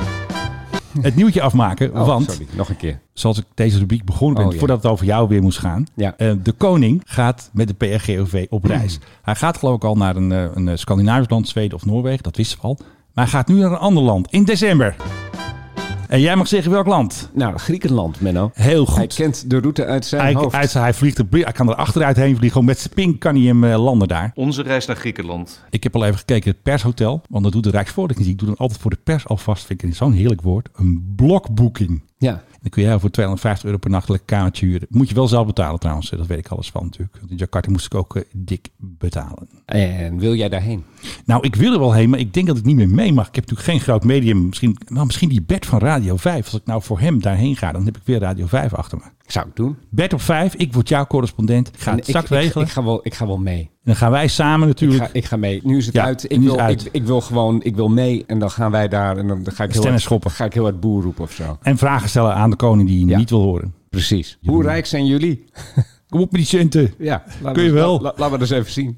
Speaker 3: het nieuwtje afmaken.
Speaker 4: Mhm. Oh,
Speaker 3: want,
Speaker 4: sorry, nog een keer.
Speaker 3: zoals ik deze rubriek begonnen ben,
Speaker 4: Oh, ja.
Speaker 3: voordat het over jou weer moest gaan.
Speaker 4: Ja.
Speaker 3: eh, de koning gaat met de PRGOV op reis. Hij gaat geloof ik al naar een, eh, een eh, Scandinavisch land, Zweden of Noorwegen, dat wisten we al. Maar hij gaat nu naar een ander land in december. En jij mag zeggen welk land.
Speaker 4: Nou, Griekenland, Menno.
Speaker 3: Heel
Speaker 4: Hij
Speaker 3: goed.
Speaker 4: kent de route uit zijn
Speaker 3: Hij,
Speaker 4: hoofd.
Speaker 3: hij, hij, vliegt er, hij kan er achteruit heen vliegen. Gewoon met zijn pink kan hij hem eh, landen daar.
Speaker 12: Onze reis naar Griekenland.
Speaker 3: Ik heb al even gekeken het pershotel. Want dat doet de Rijksvoorlichting. Ik doe dan altijd voor de pers alvast. Vind ik zo'n heerlijk woord. Een blokboeking.
Speaker 4: Ja.
Speaker 3: Dan kun jij voor 250 euro per nachtelijk kamertje huren. Moet je wel zelf betalen trouwens. Dat weet ik alles van natuurlijk. Want In Jakarta moest ik ook eh, dik betalen.
Speaker 4: En wil jij daarheen?
Speaker 3: Nou, ik wil er wel heen, maar ik denk dat ik niet meer mee mag. Ik heb natuurlijk geen groot medium. Misschien, nou, misschien die Bert van Radio 5. Als ik nou voor hem daarheen ga, dan heb ik weer Radio 5 achter me.
Speaker 4: Zou ik doen.
Speaker 3: Bert op 5, ik word jouw correspondent. Ik ga
Speaker 4: En
Speaker 3: het straks
Speaker 4: ik,
Speaker 3: regelen.
Speaker 4: Ik, ga wel, ik ga wel mee.
Speaker 3: en dan gaan wij samen natuurlijk.
Speaker 4: Ik ga, ik ga mee. Nu is het
Speaker 3: Ja,
Speaker 4: uit.
Speaker 3: nu
Speaker 4: Ik
Speaker 3: is
Speaker 4: wil,
Speaker 3: het uit.
Speaker 4: Ik, ik wil gewoon, ik wil mee. En dan gaan wij daar. En dan dan ga ik heel
Speaker 3: Stennis
Speaker 4: hard,
Speaker 3: schoppen.
Speaker 4: Ga ik heel hard boer roepen of zo.
Speaker 3: En vragen stellen aan de koning die je niet wil horen.
Speaker 4: Precies. Hoe rijk zijn jullie?
Speaker 3: Kom op met die centen.
Speaker 4: Ja, laten we
Speaker 3: Kun je
Speaker 4: eens-
Speaker 3: wel.
Speaker 4: la- la- Laten we dat eens even zien.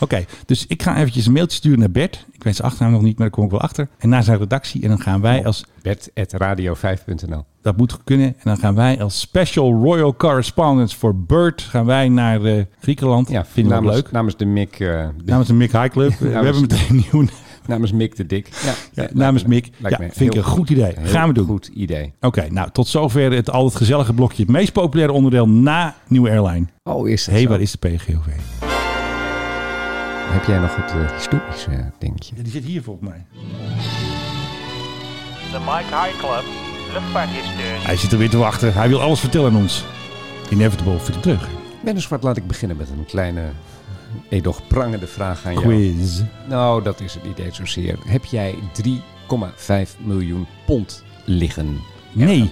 Speaker 3: Oké, dus ik ga eventjes een mailtje sturen naar Bert. Ik weet zijn achternaam nog niet, maar daar kom ik wel achter. En naar zijn redactie. En dan gaan wij als,
Speaker 4: Bert.radio5.nl
Speaker 3: dat moet kunnen. En dan gaan wij als special royal correspondents voor Bert gaan wij naar eh, Griekenland. Ja, Vinden we
Speaker 4: namens,
Speaker 3: leuk.
Speaker 4: Namens de Mick. eh, de-
Speaker 3: Namens de Mick High Club. We
Speaker 4: Namens-
Speaker 3: hebben meteen een nieuwe
Speaker 4: namens Mick de Dik. Ja,
Speaker 3: Ja, namens Mick.
Speaker 4: lijkt
Speaker 3: Ja,
Speaker 4: me
Speaker 3: vind ik
Speaker 4: heel
Speaker 3: een goed idee.
Speaker 4: Heel
Speaker 3: Gaan we doen.
Speaker 4: Goed idee.
Speaker 3: Oké, nou tot zover het al het gezellige blokje. Het meest populaire onderdeel na Nieuwe Airline.
Speaker 4: Oh, is dat
Speaker 3: hey,
Speaker 4: zo?
Speaker 3: waar is de PGOV?
Speaker 4: Heb jij nog het eh, historische dingetje?
Speaker 3: die zit hier volgens mij.
Speaker 13: De Mike High Club luchtvaarthisteur.
Speaker 3: Hij zit er weer te wachten. Hij wil alles vertellen aan ons. Inevitable Philip terug.
Speaker 4: Menno Zwart, laat ik beginnen met een kleine, edoch prangende vraag aan jou.
Speaker 3: Quiz.
Speaker 4: Nou, dat is het niet eens zozeer. Heb jij 3,5 miljoen pond liggen?
Speaker 3: Nee,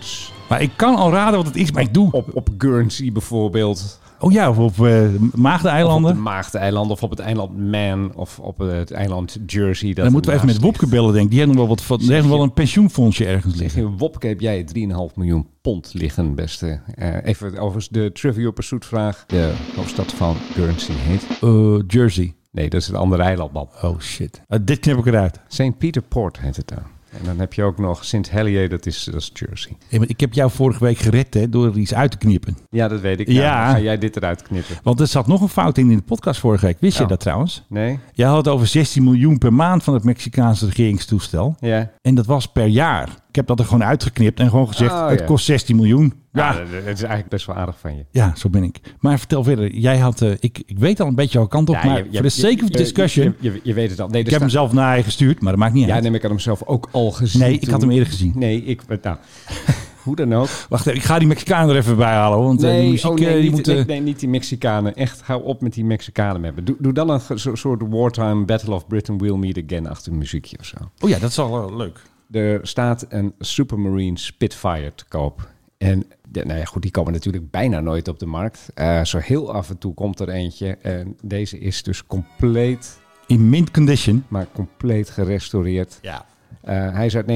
Speaker 3: maar ik kan al raden wat het is, maar ik doe.
Speaker 4: Op, op Guernsey bijvoorbeeld.
Speaker 3: Oh ja, of op eh
Speaker 4: Of op
Speaker 3: Maagdeneilanden.
Speaker 4: de Maagdeneilanden. Of op het eiland Man. Of op het eiland Jersey. Dat
Speaker 3: Dan moeten we even met
Speaker 4: ernaast
Speaker 3: Wopke bellen, denk ik. Die hebben nog wel, wat, van- die hebben nog wel een pensioenfondsje ergens
Speaker 4: ligt.
Speaker 3: liggen.
Speaker 4: In Wopke heb jij 3,5 miljoen pond liggen, beste. Eh, even overigens de Trivial Pursuit vraag. De hoofdstad van Guernsey heet?
Speaker 3: Eh, Jersey.
Speaker 4: Nee, dat is het andere eiland, man.
Speaker 3: Oh shit. Eh, dit knip ik eruit.
Speaker 4: St. Peter Port heet het dan. En dan heb je ook nog Sint Helier, dat is, dat is Jersey.
Speaker 3: Hey, maar ik heb jou vorige week gered hè, door er iets uit te knippen.
Speaker 4: Ja, dat weet ik.
Speaker 3: Ja.
Speaker 4: Ja. ga jij dit eruit knippen?
Speaker 3: Want er zat nog een fout in in de podcast vorige week. Wist je
Speaker 4: Oh.
Speaker 3: dat trouwens?
Speaker 4: Nee?
Speaker 3: Jij had het over 16 miljoen per maand van het Mexicaanse regeringstoestel.
Speaker 4: Ja.
Speaker 3: En dat was per jaar. Ik heb dat er gewoon uitgeknipt en gewoon gezegd,
Speaker 4: Oh,
Speaker 3: het
Speaker 4: ja.
Speaker 3: kost 16 miljoen.
Speaker 4: Ja,
Speaker 3: Ja,
Speaker 4: Nou, dat dat is eigenlijk best wel aardig van je.
Speaker 3: ja, zo ben ik. Maar vertel verder. Jij had, eh, ik, ik weet al een beetje jouw kant op,
Speaker 4: Ja,
Speaker 3: maar
Speaker 4: je- je-
Speaker 3: voor de sake of
Speaker 4: je-
Speaker 3: discussion.
Speaker 4: Je, je, je weet het al. Nee, er
Speaker 3: ik heb hem
Speaker 4: staat-
Speaker 3: zelf naar je gestuurd, maar dat maakt niet
Speaker 4: Ja,
Speaker 3: uit.
Speaker 4: neem ik had hem zelf ook al gezien.
Speaker 3: Nee, ik had hem eerder gezien.
Speaker 4: Nee, ik... Nou, hoe dan ook.
Speaker 3: Wacht even, ik ga die Mexicaan er even bij halen. hoor, Want eh,
Speaker 4: Nee,
Speaker 3: die muziek,
Speaker 4: oh,
Speaker 3: eh,
Speaker 4: nee,
Speaker 3: die
Speaker 4: niet,
Speaker 3: moet...
Speaker 4: nee,
Speaker 3: eh,
Speaker 4: nee, niet die Mexicanen. Echt, hou op met die Mexicanen me hebben. Doe, doe dan een ge- zo- soort wartime Battle of Britain, we'll meet again achter een muziekje of zo.
Speaker 3: Oh ja, dat is al eh, leuk.
Speaker 4: Er staat een Supermarine Spitfire te koop. En de- nou ja, goed, die komen natuurlijk bijna nooit op de markt. Eh, zo heel af en toe komt er eentje. En deze is dus compleet,
Speaker 3: In mint condition.
Speaker 4: maar compleet gerestaureerd.
Speaker 3: Ja.
Speaker 4: Eh, hij is uit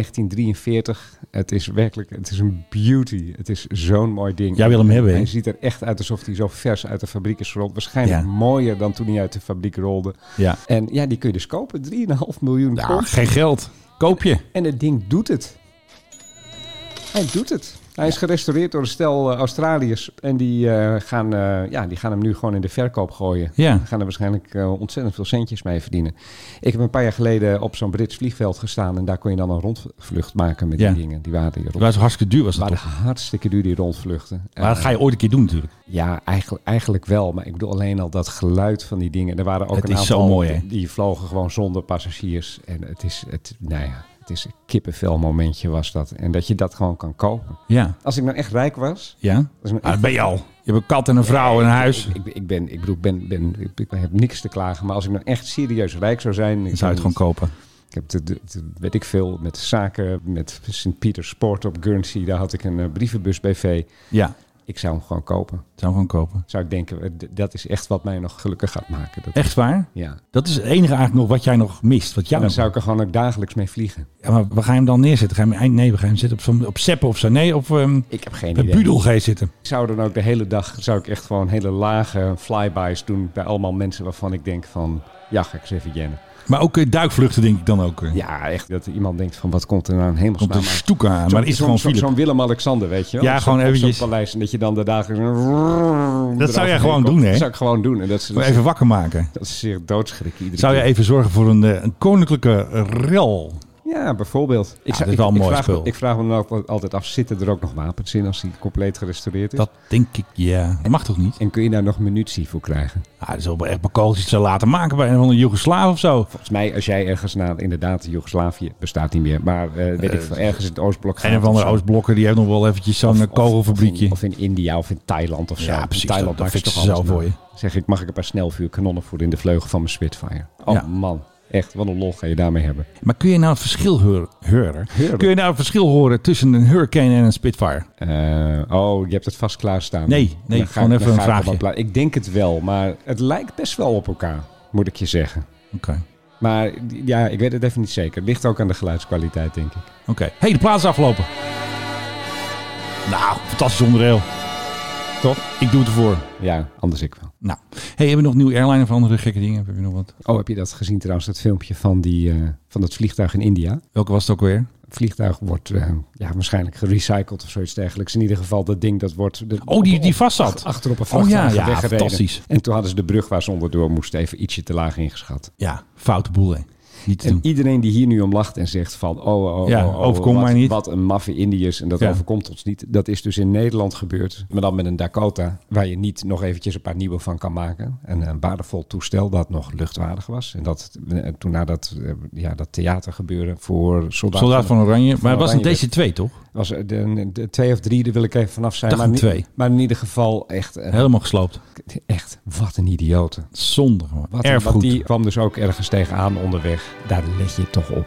Speaker 4: 1943. Het is werkelijk, het is een beauty. Het is zo'n mooi ding.
Speaker 3: Jij wil hem hebben, hè?
Speaker 4: Hij ziet er echt uit alsof hij zo vers uit de fabriek is gerold. Waarschijnlijk
Speaker 3: Ja.
Speaker 4: mooier dan toen hij uit de fabriek rolde.
Speaker 3: Ja.
Speaker 4: En ja, die kun je dus kopen. 3,5 miljoen
Speaker 3: ja,
Speaker 4: pond.
Speaker 3: geen geld. Koop je.
Speaker 4: En het ding doet het. Hij doet het. Hij is gerestaureerd door een stel eh, Australiërs. En die, eh, gaan, eh, ja, die gaan hem nu gewoon in de verkoop gooien.
Speaker 3: Ja.
Speaker 4: Die gaan er waarschijnlijk eh, ontzettend veel centjes mee verdienen. Ik heb een paar jaar geleden op zo'n Brits vliegveld gestaan. En daar kon je dan een rondvlucht maken met
Speaker 3: Ja.
Speaker 4: die dingen. Die waren hier
Speaker 3: Dat was hartstikke duur, was dat
Speaker 4: waren
Speaker 3: toch?
Speaker 4: hartstikke duur, die rondvluchten.
Speaker 3: Maar dat
Speaker 4: Eh,
Speaker 3: ga je ooit een keer doen natuurlijk.
Speaker 4: ja, eigenlijk, eigenlijk wel. Maar ik bedoel alleen al dat geluid van die dingen. Er waren ook
Speaker 3: Het
Speaker 4: een
Speaker 3: is
Speaker 4: aantal
Speaker 3: zo mooi, hè?
Speaker 4: die, die vlogen gewoon zonder passagiers. En het is, het, nou ja, het is een kippenvel momentje was dat. En dat je dat gewoon kan kopen.
Speaker 3: Ja.
Speaker 4: Als ik nou echt rijk was...
Speaker 3: Ja?
Speaker 4: Als
Speaker 3: Ah,
Speaker 4: ik nou
Speaker 3: dat
Speaker 4: echt-
Speaker 3: ben je al. Je hebt een kat en een vrouw en een huis.
Speaker 4: Ik, ik, ik ben, ik bedoel, ik ben, ben, ik, ik heb niks te klagen. Maar als ik nou echt serieus rijk zou zijn...
Speaker 3: Dan
Speaker 4: Ik
Speaker 3: zou je het gewoon kopen.
Speaker 4: Ik heb, de, de- de- weet ik veel, met zaken, met Sint Pieter Sport op Guernsey. Daar had ik een eh, brievenbus BV.
Speaker 3: Ja,
Speaker 4: Ik zou hem gewoon kopen.
Speaker 3: zou gewoon kopen.
Speaker 4: Zou ik denken, eh, d- dat is echt wat mij nog gelukkig gaat maken. Dat,
Speaker 3: Echt waar?
Speaker 4: Ja.
Speaker 3: Dat is het enige eigenlijk nog wat jij nog mist. Wat jij
Speaker 4: Dan
Speaker 3: nog...
Speaker 4: zou ik er gewoon ook dagelijks mee vliegen.
Speaker 3: Ja, maar we gaan hem dan neerzetten. Ga je hem... eind- Nee, we gaan hem zetten op, zo'n- op Seppen of zo. Nee, op ehm
Speaker 4: Ik heb geen
Speaker 3: de
Speaker 4: idee.
Speaker 3: Budel ga je zitten.
Speaker 4: Ik zou dan ook de hele dag zou ik echt gewoon hele lage flybys doen bij allemaal mensen waarvan ik denk van ja, ga ik eens even jennen.
Speaker 3: Maar ook eh, duikvluchten denk ik dan ook. eh.
Speaker 4: Ja, echt dat iemand denkt van wat komt er nou een hemelsnaam
Speaker 3: Komt een
Speaker 4: uit?
Speaker 3: stoeka aan, maar
Speaker 4: Zo'n-
Speaker 3: is
Speaker 4: zo'n-
Speaker 3: gewoon
Speaker 4: zo'n-
Speaker 3: Philip.
Speaker 4: Zo'n Willem-Alexander, weet je wel?
Speaker 3: Ja,
Speaker 4: Op zo'n-
Speaker 3: gewoon
Speaker 4: op zo'n
Speaker 3: eventjes.
Speaker 4: paleis en dat je dan de dagen... Dat
Speaker 3: jij gewoon doen, hè?
Speaker 4: Dat zou ik gewoon doen. En dat ze,
Speaker 3: Gewoon Even wakker maken.
Speaker 4: dat ze zich doodschrikken iedere
Speaker 3: Zou je
Speaker 4: keer.
Speaker 3: even zorgen voor een, eh, een koninklijke rel?
Speaker 4: Ja, bijvoorbeeld. Ik,
Speaker 3: dat is wel een mooi
Speaker 4: vraag, me-
Speaker 3: spul.
Speaker 4: ik vraag me dan ook altijd af, zitten er ook nog wapens in als die compleet gerestaureerd is?
Speaker 3: Dat denk ik, ja. Dat mag toch niet?
Speaker 4: En kun je daar nog munitie voor krijgen?
Speaker 3: Ah, dat is wel echt bakoos iets te laten maken bij een van de Joegoslaaf of zo.
Speaker 4: Volgens mij, als jij ergens naar, inderdaad, Joegoslavië bestaat niet meer, maar eh, weet ik
Speaker 3: Eh,
Speaker 4: veel, ergens in het Oostblok gaat
Speaker 3: Een of andere
Speaker 4: zo.
Speaker 3: Oostblokker die heeft nog wel eventjes zo'n eh, kogelfabriekje.
Speaker 4: Of in India of in Thailand of zo.
Speaker 3: Ja,
Speaker 4: In
Speaker 3: precies, dat-
Speaker 4: Thailand
Speaker 3: dat
Speaker 4: maken ze
Speaker 3: fixen ze
Speaker 4: alles
Speaker 3: zelf voor
Speaker 4: na. Zeg ik, mag ik een paar snelvuurkanonnen voor in de vleugel van mijn Spitfire? Oh
Speaker 3: Ja.
Speaker 4: man, echt, wat een lol ga je daarmee hebben.
Speaker 3: Maar kun je nou het verschil horen? horen?
Speaker 4: Horen.
Speaker 3: Kun je nou het verschil horen tussen een Hurricane en een Spitfire?
Speaker 4: Eh, oh, je hebt het vast klaarstaan.
Speaker 3: Nee,
Speaker 4: Dan
Speaker 3: nee,
Speaker 4: ga
Speaker 3: gewoon
Speaker 4: ik-
Speaker 3: even
Speaker 4: dan
Speaker 3: een
Speaker 4: ga ik op
Speaker 3: vraagje.
Speaker 4: pla- Ik denk het wel, maar het lijkt best wel op elkaar, moet ik je zeggen.
Speaker 3: Oké.
Speaker 4: Maar ja, ik weet het even niet zeker. Het ligt ook aan de geluidskwaliteit, denk ik.
Speaker 3: Oké. hey, de plaats is afgelopen. Nou, fantastisch onderdeel.
Speaker 4: Toch?
Speaker 3: Ik doe het ervoor.
Speaker 4: Ja, anders ik wel.
Speaker 3: Nou. hey, hebben we nog nieuwe airline of andere gekke dingen? Heb je nog wat?
Speaker 4: Oh, heb je dat gezien trouwens, dat filmpje van, die, eh, van dat vliegtuig in India?
Speaker 3: Welke was het ook weer?
Speaker 4: Het vliegtuig wordt eh, ja, waarschijnlijk gerecycled of zoiets dergelijks. In ieder geval, dat ding dat wordt... de-
Speaker 3: Oh, die, die vast
Speaker 4: op-
Speaker 3: zat.
Speaker 4: Achter op een
Speaker 3: Oh ja,
Speaker 4: vrachtwagen
Speaker 3: ja,
Speaker 4: weggereden.
Speaker 3: fantastisch.
Speaker 4: En toen hadden ze de brug waar ze onderdoor moesten even ietsje te laag ingeschat.
Speaker 3: Ja, foute boel, hè. Niet te
Speaker 4: En
Speaker 3: doen.
Speaker 4: iedereen die hier nu om lacht en zegt van... Oh, oh, oh,
Speaker 3: Ja,
Speaker 4: oh, oh,
Speaker 3: overkomt
Speaker 4: wat,
Speaker 3: mij niet.
Speaker 4: Wat een maffe Indiërs en dat
Speaker 3: Ja.
Speaker 4: overkomt ons niet. Dat is dus in Nederland gebeurd. Maar dan met een Dakota, waar je niet nog eventjes een paar nieuwe van kan maken. En een waardevol toestel dat nog luchtwaardig was. En dat, eh, toen na dat, eh, ja, dat theatergebeuren voor soldaten...
Speaker 3: Soldaat van Oranje. Maar het was
Speaker 4: Oranje
Speaker 3: in deze twee, toch?
Speaker 4: was er de, de twee of drie, daar wil ik even vanaf zijn.
Speaker 3: Dacht
Speaker 4: maar,
Speaker 3: een
Speaker 4: ni-
Speaker 3: twee.
Speaker 4: maar in ieder geval echt, een-
Speaker 3: Helemaal gesloopt.
Speaker 4: echt wat een idiote.
Speaker 3: Zonde gewoon.
Speaker 4: Wat, een-
Speaker 3: Erfgoed.
Speaker 4: want die kwam dus ook ergens tegenaan onderweg. Daar let je toch op.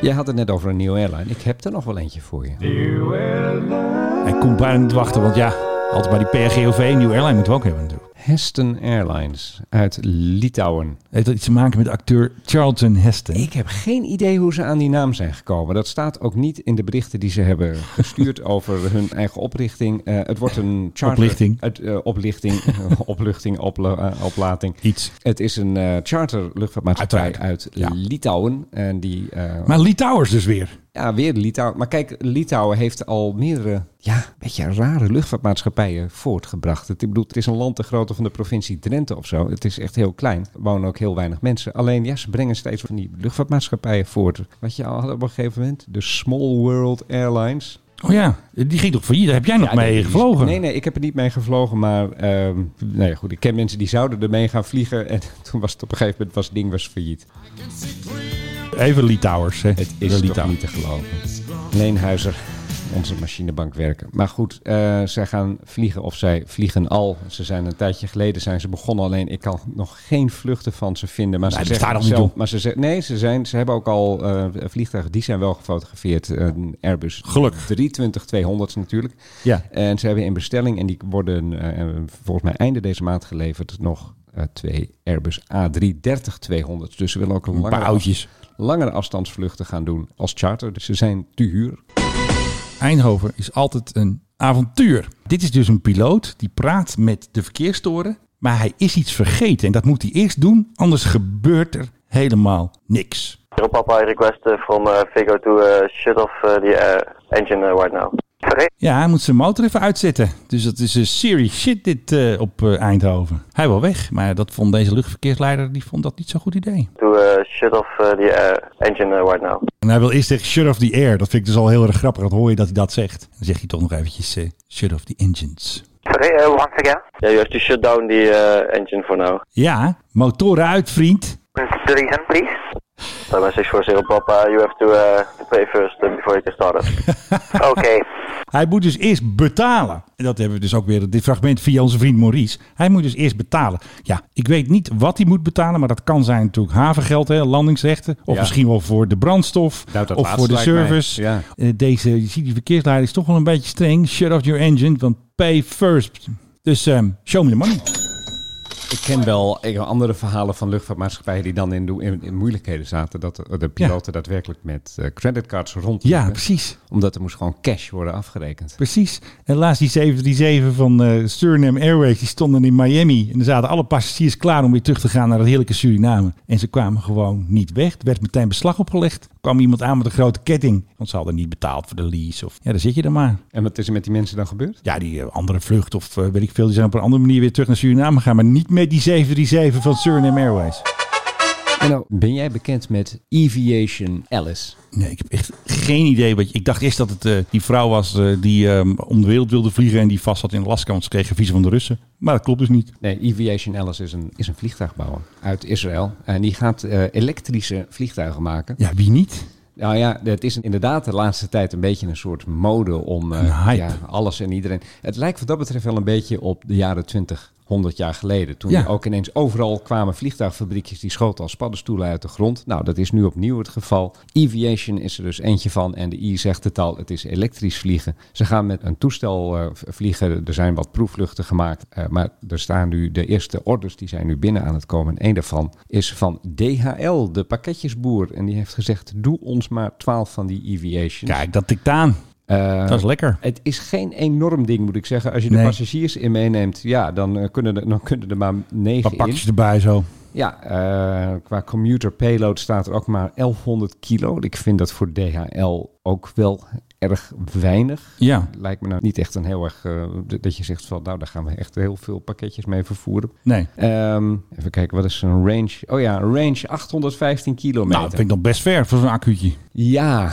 Speaker 4: Jij had het net over een nieuwe airline. Ik heb er nog wel eentje voor je.
Speaker 3: Hij kon bijna niet wachten, want ja, altijd bij die PRGOV, een nieuwe airline moeten we ook hebben natuurlijk.
Speaker 4: Heston Airlines uit Litouwen.
Speaker 3: Heeft dat iets te maken met acteur Charlton Heston?
Speaker 4: Ik heb geen idee hoe ze aan die naam zijn gekomen. Dat staat ook niet in de berichten die ze hebben gestuurd over hun eigen oprichting. Eh, het wordt een charter...
Speaker 3: Oplichting.
Speaker 4: Het, eh, oplichting, opluchting, opla- eh, oplating.
Speaker 3: Iets.
Speaker 4: Het is een eh charter luchtvaartmaatschappij uit
Speaker 3: Ja.
Speaker 4: Litouwen. En die, eh,
Speaker 3: Maar Lee Towers dus weer.
Speaker 4: ja, weer Litouwen. Maar kijk, Litouwen heeft al meerdere, ja, een beetje rare luchtvaartmaatschappijen voortgebracht. Het, ik bedoel, het is een land de grootte van de provincie Drenthe of zo. Het is echt heel klein. Er wonen ook heel weinig mensen. Alleen, ja, ze brengen steeds van die luchtvaartmaatschappijen voort. Wat je al had op een gegeven moment, de Small World Airlines.
Speaker 3: Oh ja, die ging toch failliet? Daar heb jij nog
Speaker 4: Ja,
Speaker 3: mee
Speaker 4: die-
Speaker 3: gevlogen?
Speaker 4: Nee, nee, ik heb er niet mee gevlogen. Maar ehm nou ja, goed, ik ken mensen die zouden ermee gaan vliegen. En toen was het op een gegeven moment, was het ding was failliet.
Speaker 3: Even Lee Towers. Hè.
Speaker 4: Het is
Speaker 3: De Lee
Speaker 4: toch
Speaker 3: Towers.
Speaker 4: niet te geloven. Leenhuizer, onze machinebankwerker. Maar goed, eh, zij gaan vliegen of zij vliegen al. Ze zijn een tijdje geleden zijn ze begonnen. Alleen ik kan nog geen vluchten van ze vinden. Maar
Speaker 3: Nee,
Speaker 4: ze
Speaker 3: dat
Speaker 4: zeggen
Speaker 3: staat nog niet
Speaker 4: zelf-
Speaker 3: toe.
Speaker 4: Maar ze zeggen, nee, ze, zijn, ze hebben ook al eh, vliegtuigen. Die zijn wel gefotografeerd. Een Airbus
Speaker 3: Gelukkig.
Speaker 4: 320-200 natuurlijk.
Speaker 3: Ja.
Speaker 4: En ze hebben in bestelling, en die worden eh, volgens mij einde deze maand geleverd, nog eh, twee Airbus A330-200. Dus ze willen ook een
Speaker 3: Een paar
Speaker 4: langere,
Speaker 3: oudjes.
Speaker 4: langere afstandsvluchten gaan doen als charter. Dus ze zijn te huur.
Speaker 3: Eindhoven is altijd een avontuur. Dit is dus een piloot die praat met de verkeerstoren. Maar hij is iets vergeten. En dat moet hij eerst doen. Anders gebeurt er helemaal niks.
Speaker 1: Zero Papa, I request uh, from uh, Figo to uh, shut off uh, the uh, engine uh, right now.
Speaker 3: Ja, hij moet zijn motor even uitzetten. Dus dat is een serious shit dit eh, op eh, Eindhoven. Hij wil weg, maar dat vond deze luchtverkeersleider die vond dat niet zo'n goed idee.
Speaker 1: To uh, shut off uh, the uh, engine uh, right now.
Speaker 3: En hij wil eerst zeggen shut off the air. Dat vind ik dus al heel erg grappig. Dat hoor je dat hij dat zegt. Dan zeg je toch nog eventjes eh, shut off the engines.
Speaker 1: Sorry, uh, once again? Yeah, you have to shut down the uh, engine for now.
Speaker 3: Ja, motoren uit vriend.
Speaker 1: The reason, please? Seven six four zero Papa, you have to uh, to pay first uh, before you can start it. okay.
Speaker 3: Hij moet dus eerst betalen. En dat hebben we dus ook weer, dit fragment via onze vriend Maurice. Hij moet dus eerst betalen. Ja, ik weet niet wat hij moet betalen, maar dat kan zijn natuurlijk havengeld, hè, landingsrechten. Of
Speaker 4: Ja.
Speaker 3: misschien wel voor de brandstof.
Speaker 4: Nou, dat
Speaker 3: of
Speaker 4: laatste
Speaker 3: voor de
Speaker 4: lijkt mij,
Speaker 3: service.
Speaker 4: ja.
Speaker 3: Eh, Deze, je ziet die verkeersleider is toch wel een beetje streng. Shut off your engine, want pay first. Dus ehm, show me the money.
Speaker 4: Ik ken wel ik- andere verhalen van luchtvaartmaatschappijen die dan in, doe- in, in moeilijkheden zaten. Dat de, de piloten daadwerkelijk met eh, creditcards rondliepen.
Speaker 3: Ja, precies.
Speaker 4: Omdat er moest gewoon cash worden afgerekend.
Speaker 3: Precies. En laatst die 737 van eh Suriname Airways, die stonden in Miami. En er zaten alle passagiers klaar om weer terug te gaan naar dat heerlijke Suriname. En ze kwamen gewoon niet weg. Er werd meteen beslag opgelegd. Er kwam iemand aan met een grote ketting. Want ze hadden niet betaald voor de lease. Of, ja, daar zit je dan maar.
Speaker 4: En wat is er met die mensen dan gebeurd?
Speaker 3: Ja, die eh, andere vlucht of eh, weet ik veel. Die zijn op een andere manier weer terug naar Suriname gegaan. Maar niet met die 737 van Suriname Airways.
Speaker 4: En nou, ben jij bekend met Eviation Alice?
Speaker 3: Nee, ik heb echt geen idee. Wat je, ik dacht eerst dat het eh, die vrouw was eh, die ehm, om de wereld wilde vliegen en die vast zat in Alaska, want ze kregen visie van de Russen. Maar dat klopt dus niet.
Speaker 4: Nee, Eviation Alice is een, is een vliegtuigbouwer uit Israël. En die gaat eh, elektrische vliegtuigen maken.
Speaker 3: Ja, wie niet?
Speaker 4: Nou ja, het is inderdaad de laatste tijd een beetje een soort mode om eh, Ja, alles en iedereen. Het lijkt wat dat betreft wel een beetje op de jaren 20, 100 jaar geleden. Toen
Speaker 3: Ja.
Speaker 4: je ook ineens overal kwamen vliegtuigfabriekjes die schoten als paddenstoelen uit de grond. Nou, dat is nu opnieuw het geval. Eviation is er dus eentje van en de I zegt het al, het is elektrisch vliegen. Ze gaan met een toestel eh, v- vliegen. Er zijn wat proefvluchten gemaakt, eh, maar er staan nu de eerste orders die zijn nu binnen aan het komen. En een daarvan is van DHL, de pakketjesboer. En die heeft gezegd, doe ons maar 12 van die Eviations.
Speaker 3: Kijk, dat tikt aan.
Speaker 4: Eh,
Speaker 3: Dus- Dat is lekker.
Speaker 4: Het is geen enorm ding, moet ik zeggen. Als je de
Speaker 3: Nee.
Speaker 4: passagiers in meeneemt, ja, dan, eh, kunnen, er, dan kunnen er maar negen
Speaker 3: Wat pak
Speaker 4: in.
Speaker 3: je erbij zo?
Speaker 4: Ja, eh, qua commuter payload staat er ook maar 1100 kilo. Ik vind dat voor DHL ook wel erg weinig.
Speaker 3: Ja.
Speaker 4: Lijkt me nou niet echt een heel erg... eh, d- dat je zegt van, nou, daar gaan we echt heel veel pakketjes mee vervoeren.
Speaker 3: Nee.
Speaker 4: Ehm, even kijken, wat is een range? Oh ja, een range 815 kilometer.
Speaker 3: Nou, dat vind ik nog best ver voor zo'n accuutje.
Speaker 4: Ja.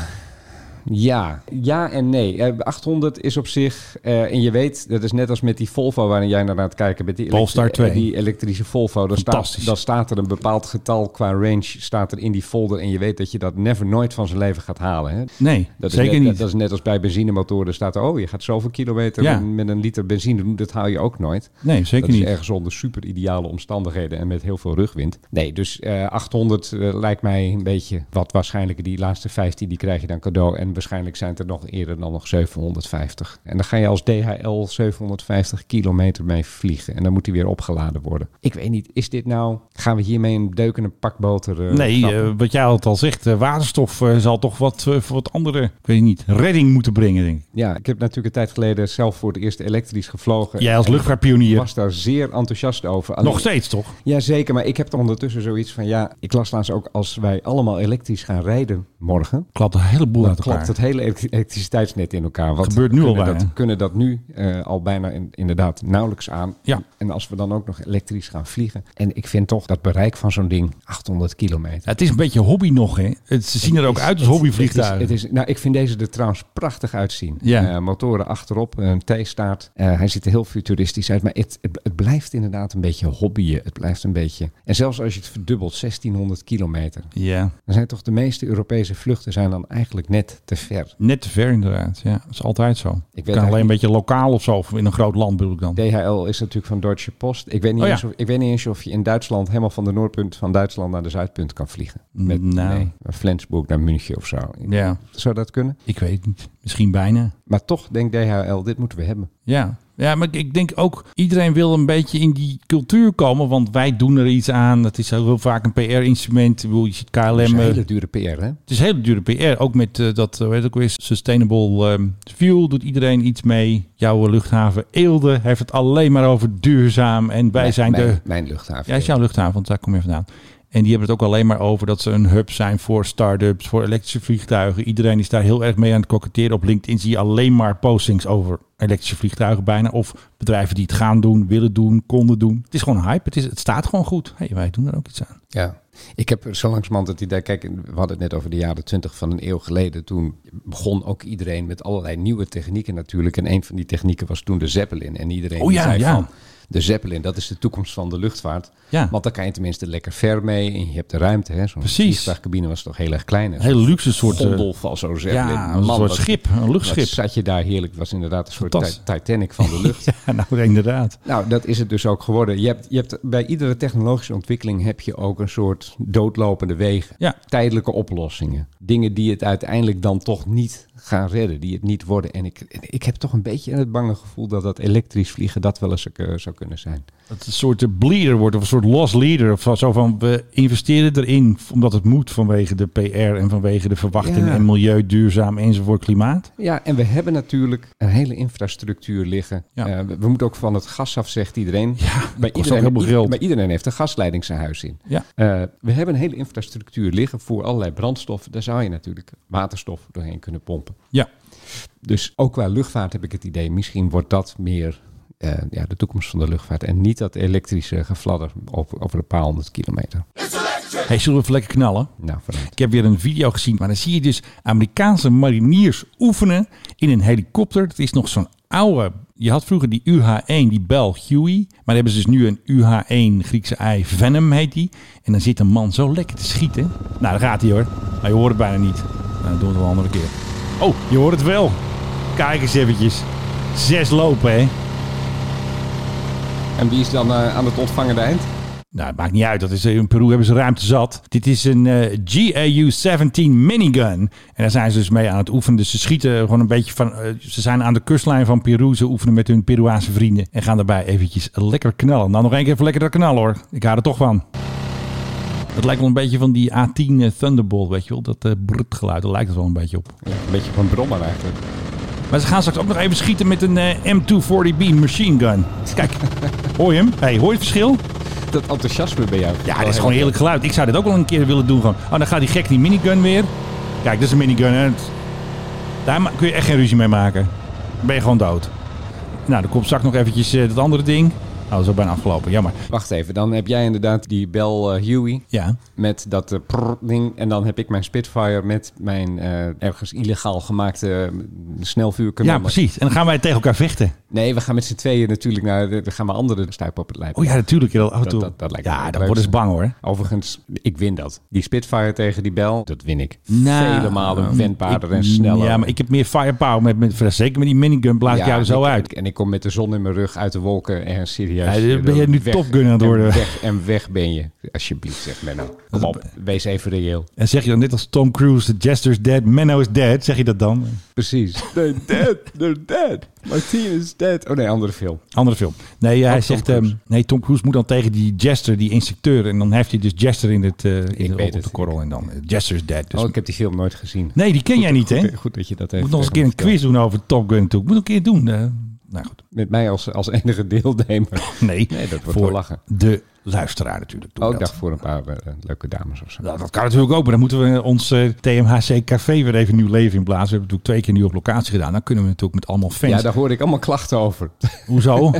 Speaker 4: Ja, ja en nee. Eh, 800 is op zich, eh, en je weet, dat is net als met die Volvo waarin jij naar aan het kijken bent. Die elektri-
Speaker 3: Polestar 2.
Speaker 4: eh, Die elektrische Volvo, dan
Speaker 3: Fantastisch.
Speaker 4: staat, dan staat er een bepaald getal qua range staat er in die folder. En je weet dat je dat never nooit van zijn leven gaat halen. Hè?
Speaker 3: Nee,
Speaker 4: dat
Speaker 3: zeker
Speaker 4: is net,
Speaker 3: niet.
Speaker 4: Dat, dat is net als bij benzinemotoren staat er, oh je gaat zoveel kilometer
Speaker 3: Ja.
Speaker 4: met, met een liter benzine doen. Dat haal je ook nooit.
Speaker 3: Nee, zeker
Speaker 4: dat is
Speaker 3: niet.
Speaker 4: ergens onder super ideale omstandigheden en met heel veel rugwind. Nee, dus eh, 800 eh, lijkt mij een beetje wat waarschijnlijk. Die laatste 15 die krijg je dan cadeau. En waarschijnlijk zijn het er nog eerder dan nog 750. En dan ga je als DHL 750 kilometer mee vliegen. En dan moet die weer opgeladen worden. Ik weet niet, is dit nou... Gaan we hiermee een deuk en een pak boter... eh,
Speaker 3: nee,
Speaker 4: knappen?
Speaker 3: eh, wat jij altijd al zegt, eh, waterstof eh, zal toch wat eh, voor wat andere, ik weet niet, redding moeten brengen, denk ik.
Speaker 4: Ja, ik heb natuurlijk een tijd geleden zelf voor het eerst elektrisch gevlogen.
Speaker 3: Jij als
Speaker 4: En
Speaker 3: luchtvaartpionier.
Speaker 4: Ik was daar zeer enthousiast over.
Speaker 3: Nog steeds, toch?
Speaker 4: Ja, zeker. Maar ik heb er ondertussen zoiets van... Ja, ik las laatst ook als wij allemaal elektrisch gaan rijden morgen... Nou,
Speaker 3: Klapt een heleboel
Speaker 4: Dan
Speaker 3: uit elkaar.
Speaker 4: klapt het hele elekt- elektriciteitsnet in elkaar. Wat
Speaker 3: Gebeurt nu al
Speaker 4: kunnen
Speaker 3: bijna.
Speaker 4: Dat, kunnen dat nu eh, al bijna in- inderdaad nauwelijks aan.
Speaker 3: Ja.
Speaker 4: En als we dan ook nog elektrisch gaan vliegen. En ik vind toch dat bereik van zo'n ding 800 kilometer.
Speaker 3: Ja, het is een beetje hobby nog, hè? Het, ze zien er ook uit als hobbyvliegtuigen.
Speaker 4: Het is, het is- nou, ik vind deze er trouwens prachtig uitzien.
Speaker 3: Ja.
Speaker 4: Eh, motoren achterop, een T-staart. Eh, hij ziet er heel futuristisch uit. Maar het, het, het blijft inderdaad een beetje hobbyen. Het blijft een beetje... En zelfs als je het verdubbelt, 1600 kilometer.
Speaker 3: Ja.
Speaker 4: Dan zijn toch de meeste Europese vluchten zijn dan eigenlijk net te ver.
Speaker 3: Net te ver inderdaad, ja. Dat is altijd zo. Ik kan alleen
Speaker 4: eigenlijk
Speaker 3: een beetje lokaal of zo, of in een groot land bedoel ik dan.
Speaker 4: DHL is natuurlijk van Deutsche Post. Ik weet niet,
Speaker 3: Oh ja.
Speaker 4: eens, of, ik weet niet eens of je in Duitsland helemaal van de noordpunt van Duitsland naar de zuidpunt kan vliegen. Met
Speaker 3: Nou.
Speaker 4: nee, van Flensburg naar München of zo.
Speaker 3: Ja.
Speaker 4: Zou dat kunnen?
Speaker 3: Ik weet het niet. Misschien bijna.
Speaker 4: Maar toch denkt DHL, dit moeten we hebben.
Speaker 3: Ja. Ja, maar ik- ik denk ook, iedereen wil een beetje in die cultuur komen, want wij doen er iets aan. Dat is heel vaak een PR-instrument. Ik bedoel, je ziet KLM...
Speaker 4: Dat is een
Speaker 3: eh,
Speaker 4: hele dure PR, hè?
Speaker 3: Het is hele dure PR. Ook met eh, dat, weet ik weer, Sustainable ehm, Fuel doet iedereen iets mee. Jouw luchthaven Eelde heeft het alleen maar over duurzaam. En wij
Speaker 4: Mijn-
Speaker 3: zijn de...
Speaker 4: mijn- mijn luchthaven.
Speaker 3: Ja, het is jouw luchthaven, want daar kom je vandaan. En die hebben het ook alleen maar over dat ze een hub zijn voor start-ups, voor elektrische vliegtuigen. Iedereen is daar heel erg mee aan het koketteren. Op LinkedIn zie je alleen maar postings over elektrische vliegtuigen bijna. Of bedrijven die het gaan doen, willen doen, konden doen. Het is gewoon hype. Het, is, het staat gewoon goed. hey, wij doen er ook iets aan.
Speaker 4: Ja, ik heb zo langzamerhand het idee, kijk, we hadden het net over de jaren 20 van een eeuw geleden. Toen begon ook iedereen met allerlei nieuwe technieken natuurlijk. En een van die technieken was toen de Zeppelin. En iedereen
Speaker 3: Oh
Speaker 4: die
Speaker 3: ja,
Speaker 4: zei
Speaker 3: ja.
Speaker 4: van, de Zeppelin, dat is de toekomst van de luchtvaart.
Speaker 3: Ja.
Speaker 4: Want dan kan je tenminste lekker ver mee en je hebt de ruimte. Hè? Zo'n
Speaker 3: Precies.
Speaker 4: vliegtuigcabine was toch heel erg klein. Een
Speaker 3: Heel luxe soort, eh,
Speaker 4: gondel van zo'n Zeppelin.
Speaker 3: ja, een soort
Speaker 4: wat-
Speaker 3: schip, een luchtschip.
Speaker 4: wat zat je daar heerlijk. Het was inderdaad een soort
Speaker 3: Fantastisch.
Speaker 4: ti- Titanic van de lucht.
Speaker 3: Ja, nou inderdaad.
Speaker 4: Nou, dat is het dus ook geworden. Je hebt, je hebt, bij iedere technologische ontwikkeling heb je ook een soort doodlopende wegen.
Speaker 3: Ja.
Speaker 4: Tijdelijke oplossingen. Dingen die het uiteindelijk dan toch niet gaan redden, die het niet worden. En ik, ik heb toch een beetje het bange gevoel dat dat elektrisch vliegen dat wel eens eh, zou kunnen zijn.
Speaker 3: Dat het een soort eh, bleeder wordt of een soort loss leader. Of zo van we investeren erin omdat het moet vanwege de PR en vanwege de verwachtingen
Speaker 4: Ja.
Speaker 3: en milieu, duurzaam enzovoort, klimaat.
Speaker 4: Ja, en we hebben natuurlijk een hele infrastructuur liggen. Eh, we, we moeten ook van het gas af, zegt iedereen. bij,
Speaker 3: kost ook
Speaker 4: iedereen
Speaker 3: heel veel geld.
Speaker 4: bij iedereen heeft een gasleiding zijn huis in.
Speaker 3: Ja.
Speaker 4: Eh, we hebben een hele infrastructuur liggen voor allerlei brandstoffen. Daar zou je natuurlijk waterstof doorheen kunnen pompen.
Speaker 3: Ja.
Speaker 4: Dus ook qua luchtvaart heb ik het idee, misschien wordt dat meer eh, ja, de toekomst van de luchtvaart. En niet dat elektrische gefladder over, over een paar honderd kilometer.
Speaker 7: It's electric.
Speaker 3: Hey, zullen we even lekker knallen?
Speaker 4: Nou, vooruit.
Speaker 3: ik heb weer een video gezien, maar dan zie je dus Amerikaanse mariniers oefenen in een helikopter. Dat is nog zo'n oude. Je had vroeger die UH-1, die Bell Huey. Maar dan hebben ze dus nu een UH-1, Griekse ei, Venom heet die. En dan zit een man zo lekker te schieten. Nou, daar gaat hij hoor. Maar je hoort het bijna niet. Nou, dat doen we het wel een andere keer. Oh, je hoort het wel. Kijk eens eventjes. Zes lopen, hè.
Speaker 4: En wie is dan eh, aan het ontvangende eind?
Speaker 3: Nou, het maakt niet uit. Dat is, in Peru hebben ze ruimte zat. Dit is een eh, GAU-17 minigun. En daar zijn ze dus mee aan het oefenen. Dus ze schieten gewoon een beetje van... eh, ze zijn aan de kustlijn van Peru. Ze oefenen met hun Peruaanse vrienden. En gaan daarbij eventjes lekker knallen. Nou, nog één keer even lekker dat knallen hoor. Ik hou er toch van. Het lijkt wel een beetje van die A10 Thunderbolt, weet je wel. Dat eh brrt geluid, daar lijkt het wel een beetje op.
Speaker 4: een beetje van brommer eigenlijk.
Speaker 3: Maar ze gaan straks ook nog even schieten met een eh, M240B machine gun. Kijk, hoor je hem? Hey, hoor je het verschil?
Speaker 4: Dat enthousiasme bij jou.
Speaker 3: Ja, dit is gewoon heerlijk geluid. Ik zou dit ook wel een keer willen doen. Gewoon. Oh, dan gaat die gek die minigun weer. Kijk, dit is een minigun. Hè. Het- Daar ma- kun je echt geen ruzie mee maken. Dan ben je gewoon dood. Nou, dan komt straks nog eventjes eh, dat andere ding. Oh, dat is al bijna afgelopen. Jammer.
Speaker 4: Wacht even, dan heb jij inderdaad die Bel eh, Huey
Speaker 3: Ja.
Speaker 4: met dat eh, prrr ding. En dan heb ik mijn Spitfire met mijn eh, ergens illegaal gemaakte eh, snelvuurkanon.
Speaker 3: Ja, precies. En dan gaan wij tegen elkaar vechten.
Speaker 4: Nee, we gaan met z'n tweeën natuurlijk naar... We gaan maar andere stuip op het lijf.
Speaker 3: Oh ja, natuurlijk. Dat,
Speaker 4: dat,
Speaker 3: auto.
Speaker 4: dat, dat lijkt me
Speaker 3: ja,
Speaker 4: het
Speaker 3: dan worden ze
Speaker 4: leukste.
Speaker 3: bang hoor.
Speaker 4: Overigens, ik win dat. Die Spitfire tegen die Bel, dat win ik.
Speaker 3: Nou,
Speaker 4: Vele malen wendbaarder
Speaker 3: ik-
Speaker 4: en sneller.
Speaker 3: Ja, maar ik heb meer firepower. Met, met, zeker met die minigun blaas ik
Speaker 4: Ja,
Speaker 3: jou er zo
Speaker 4: en ik-
Speaker 3: uit.
Speaker 4: En ik kom met de zon in mijn rug uit de wolken en serieus. eh,
Speaker 3: Ja, dan ben je nu
Speaker 4: weg-
Speaker 3: Top Gun aan het
Speaker 4: en
Speaker 3: worden.
Speaker 4: Weg, en weg ben je, alsjeblieft, zegt Menno. Kom op, wees even reëel.
Speaker 3: En zeg je dan net als Tom Cruise, the jester's dead, Menno is dead. Zeg je dat dan?
Speaker 4: Precies. They're dead, they're dead. My team is dead. Oh nee, andere film.
Speaker 3: Andere film. Nee, hij
Speaker 4: Tom
Speaker 3: zegt...
Speaker 4: Cruise.
Speaker 3: ehm, nee, Tom Cruise moet dan tegen die Jester, die instructeur. En dan heeft hij dus Jester in het, eh, in de,
Speaker 4: weet
Speaker 3: op
Speaker 4: het.
Speaker 3: de korrel. En dan eh, Jester is dead. Dus
Speaker 4: Oh, ik heb die film nooit gezien.
Speaker 3: nee, die ken jij niet, hè?
Speaker 4: Goed, eh, goed eh, dat je dat even
Speaker 3: moet nog eens een keer
Speaker 4: tegen
Speaker 3: een
Speaker 4: me
Speaker 3: quiz
Speaker 4: vertelt.
Speaker 3: doen over Top Gun toe. Moet nog een keer doen. eh. nou goed.
Speaker 4: Met mij als, als enige deelnemer.
Speaker 3: Nee,
Speaker 4: Nee, dat wordt
Speaker 3: voor
Speaker 4: wel lachen.
Speaker 3: de luisteraar natuurlijk. Doe
Speaker 4: Ook
Speaker 3: dat.
Speaker 4: dacht voor een paar eh, leuke dames of zo.
Speaker 3: Nou, dat kan natuurlijk ook, maar dan moeten we ons eh, TMHC Café weer even nieuw leven in blazen. We hebben natuurlijk twee keer nu op locatie gedaan. Dan kunnen we natuurlijk met allemaal fans.
Speaker 4: Ja, daar hoorde ik allemaal klachten over.
Speaker 3: Hoezo?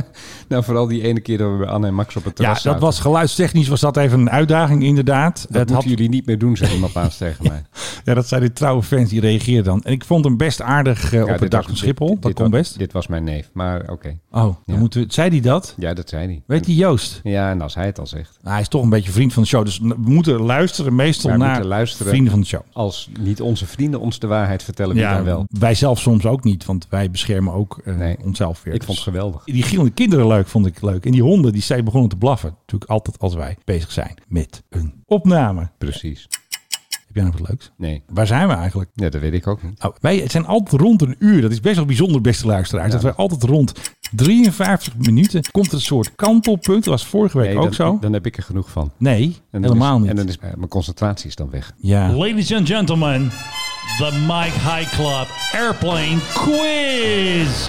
Speaker 4: nou, vooral die ene keer dat we bij Anne en Max op het
Speaker 3: ja,
Speaker 4: terras
Speaker 3: dat was geluidstechnisch was dat even een uitdaging inderdaad.
Speaker 4: Dat moeten jullie niet meer doen, zei iemand paas tegen mij.
Speaker 3: Ja, dat zijn de trouwe fans die reageerden dan. En ik vond hem best aardig eh,
Speaker 4: Ja,
Speaker 3: op
Speaker 4: dit
Speaker 3: het dak
Speaker 4: was-
Speaker 3: van Schiphol.
Speaker 4: dit-
Speaker 3: dat
Speaker 4: dit
Speaker 3: kon
Speaker 4: was-
Speaker 3: best.
Speaker 4: Dit was mijn neef, maar oké.
Speaker 3: oh, dan
Speaker 4: Ja.
Speaker 3: moeten we, zei hij dat?
Speaker 4: Ja, dat zei hij.
Speaker 3: Weet die Joost?
Speaker 4: Ja, en als hij het al zegt.
Speaker 3: Nou, hij is toch een beetje vriend van de show. Dus we moeten luisteren meestal
Speaker 4: Wij
Speaker 3: naar
Speaker 4: moeten luisteren.
Speaker 3: vrienden van de show.
Speaker 4: Als niet onze vrienden ons de waarheid vertellen, wie
Speaker 3: Ja,
Speaker 4: dan wel?
Speaker 3: wij zelf soms ook niet, want wij beschermen ook eh,
Speaker 4: Nee,
Speaker 3: onszelf weer.
Speaker 4: Ik vond het
Speaker 3: Dus
Speaker 4: geweldig.
Speaker 3: die gillende kinderen leuk, vond ik leuk. En die honden, die zijn begonnen te blaffen. Natuurlijk altijd als wij bezig zijn met een opname.
Speaker 4: Precies.
Speaker 3: Heb jij nog wat leuks?
Speaker 4: Nee,
Speaker 3: Waar zijn we eigenlijk?
Speaker 4: ja, dat weet ik ook niet.
Speaker 3: Nou, wij zijn altijd rond een uur. Dat is best wel bijzonder, beste luisteraars. Dat wij altijd rond 53 minuten komt er een soort kantelpunt. Dat was vorige week
Speaker 4: Nee,
Speaker 3: ook
Speaker 4: dan,
Speaker 3: zo.
Speaker 4: Dan heb ik er genoeg van.
Speaker 3: nee,
Speaker 4: En dan
Speaker 3: helemaal
Speaker 4: is-
Speaker 3: niet.
Speaker 4: En dan is eh, mijn concentratie is dan weg.
Speaker 3: ja.
Speaker 12: Ladies and gentlemen, the Mike High Club Airplane Quiz.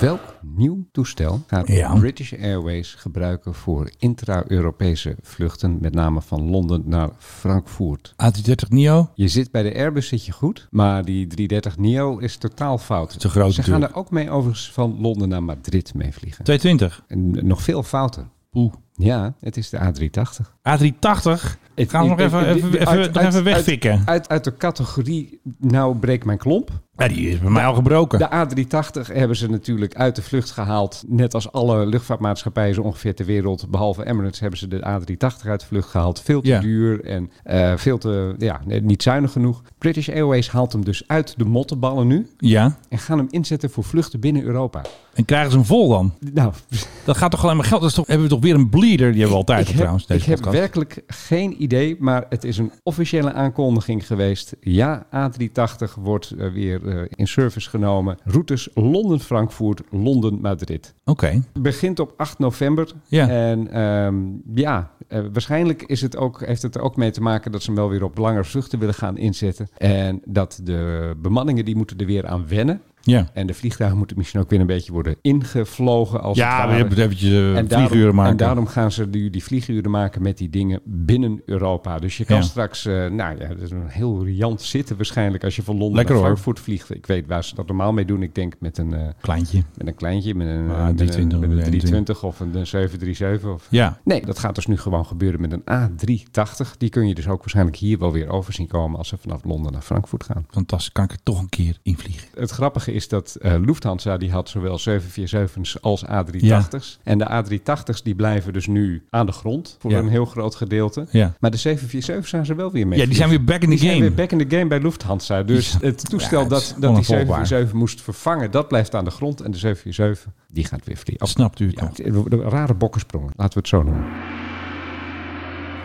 Speaker 4: Welk nieuw toestel gaat
Speaker 3: Ja.
Speaker 4: British Airways gebruiken voor intra-Europese vluchten, met name van Londen naar Frankfurt?
Speaker 3: A330 Neo.
Speaker 4: Je zit bij de Airbus zit je goed, maar die 330 Neo is totaal fout.
Speaker 3: Te groot
Speaker 4: Ze gaan
Speaker 3: natuurlijk.
Speaker 4: er ook mee overigens van Londen naar Madrid mee vliegen.
Speaker 3: 220.
Speaker 4: En nog veel fouter.
Speaker 3: Oeh.
Speaker 4: Ja, het is de A380.
Speaker 3: A380.
Speaker 4: Ik
Speaker 3: Gaan we nog even, even, even, nog even wegfikken.
Speaker 4: Uit, uit, de categorie, nou breek mijn klomp.
Speaker 3: ja, die is bij mij al gebroken.
Speaker 4: De A380 hebben ze natuurlijk uit de vlucht gehaald. Net als alle luchtvaartmaatschappijen zo ongeveer ter wereld. Behalve Emirates hebben ze de A380 uit de vlucht gehaald. Veel te
Speaker 3: Ja.
Speaker 4: duur en eh, veel te, ja, nee, niet zuinig genoeg. British Airways haalt hem dus uit de mottenballen nu.
Speaker 3: ja.
Speaker 4: En gaan hem inzetten voor vluchten binnen Europa.
Speaker 3: En krijgen ze hem vol dan?
Speaker 4: Nou,
Speaker 3: Dat gaat toch alleen maar geld? Dat is toch, hebben we toch weer een bleeder? Die hebben we altijd
Speaker 4: ik heb,
Speaker 3: trouwens, deze
Speaker 4: ik heb
Speaker 3: podcast.
Speaker 4: werkelijk geen idee, maar het is een officiële aankondiging geweest. Ja, A380 wordt eh, weer eh, in service genomen. Routes Londen-Frankfurt, Londen-Madrid.
Speaker 3: Oké.
Speaker 4: Begint op 8 november.
Speaker 3: Ja.
Speaker 4: En ehm, ja, eh, waarschijnlijk is het ook, heeft het er ook mee te maken dat ze hem wel weer op langere vluchten willen gaan inzetten. En dat de bemanningen die moeten er weer aan wennen.
Speaker 3: Ja.
Speaker 4: En de vliegtuigen moeten misschien ook weer een beetje worden ingevlogen. Als
Speaker 3: Ja,
Speaker 4: het
Speaker 3: we
Speaker 4: ware.
Speaker 3: hebben het eventjes, eh,
Speaker 4: En daarom-
Speaker 3: vlieguren maken.
Speaker 4: En daarom gaan ze die, die vlieguren maken met die dingen binnen Europa. Dus je kan
Speaker 3: Ja.
Speaker 4: straks, eh, nou ja, dat is een heel riant zitten waarschijnlijk als je van Londen
Speaker 3: Lekker
Speaker 4: naar
Speaker 3: hoor.
Speaker 4: Frankfurt vliegt. Ik weet waar ze dat normaal mee doen. Ik denk met een... eh,
Speaker 3: Kleintje.
Speaker 4: Met een kleintje, met een, eh,
Speaker 3: Ah,
Speaker 4: met een-
Speaker 3: 320,
Speaker 4: met een
Speaker 3: 320
Speaker 4: 320 of een 737. Of,
Speaker 3: Ja.
Speaker 4: Nee, dat gaat dus nu gewoon gebeuren met een A380. Die kun je dus ook waarschijnlijk hier wel weer over zien komen als ze vanaf Londen naar Frankfurt gaan.
Speaker 3: Fantastisch, kan ik er toch een keer in vliegen.
Speaker 4: Het grappige is dat eh, Lufthansa die had zowel 747's als A380's. En de A380's die blijven dus nu aan de grond voor
Speaker 3: Ja.
Speaker 4: een heel groot gedeelte.
Speaker 3: Ja.
Speaker 4: Maar de 747's zijn ze wel weer mee.
Speaker 3: Ja, die zijn weer back in the
Speaker 4: Die zijn
Speaker 3: game.
Speaker 4: weer back in the game bij Lufthansa. Dus het toestel
Speaker 3: Ja, het is
Speaker 4: dat, dat die
Speaker 3: onafvolgbaar.
Speaker 4: 747 moest vervangen, dat blijft aan de grond. En de 747, die gaat weer vliegen.
Speaker 3: Snapt u het nog?
Speaker 4: Het worden Rare bokkensprongen, laten we het zo noemen.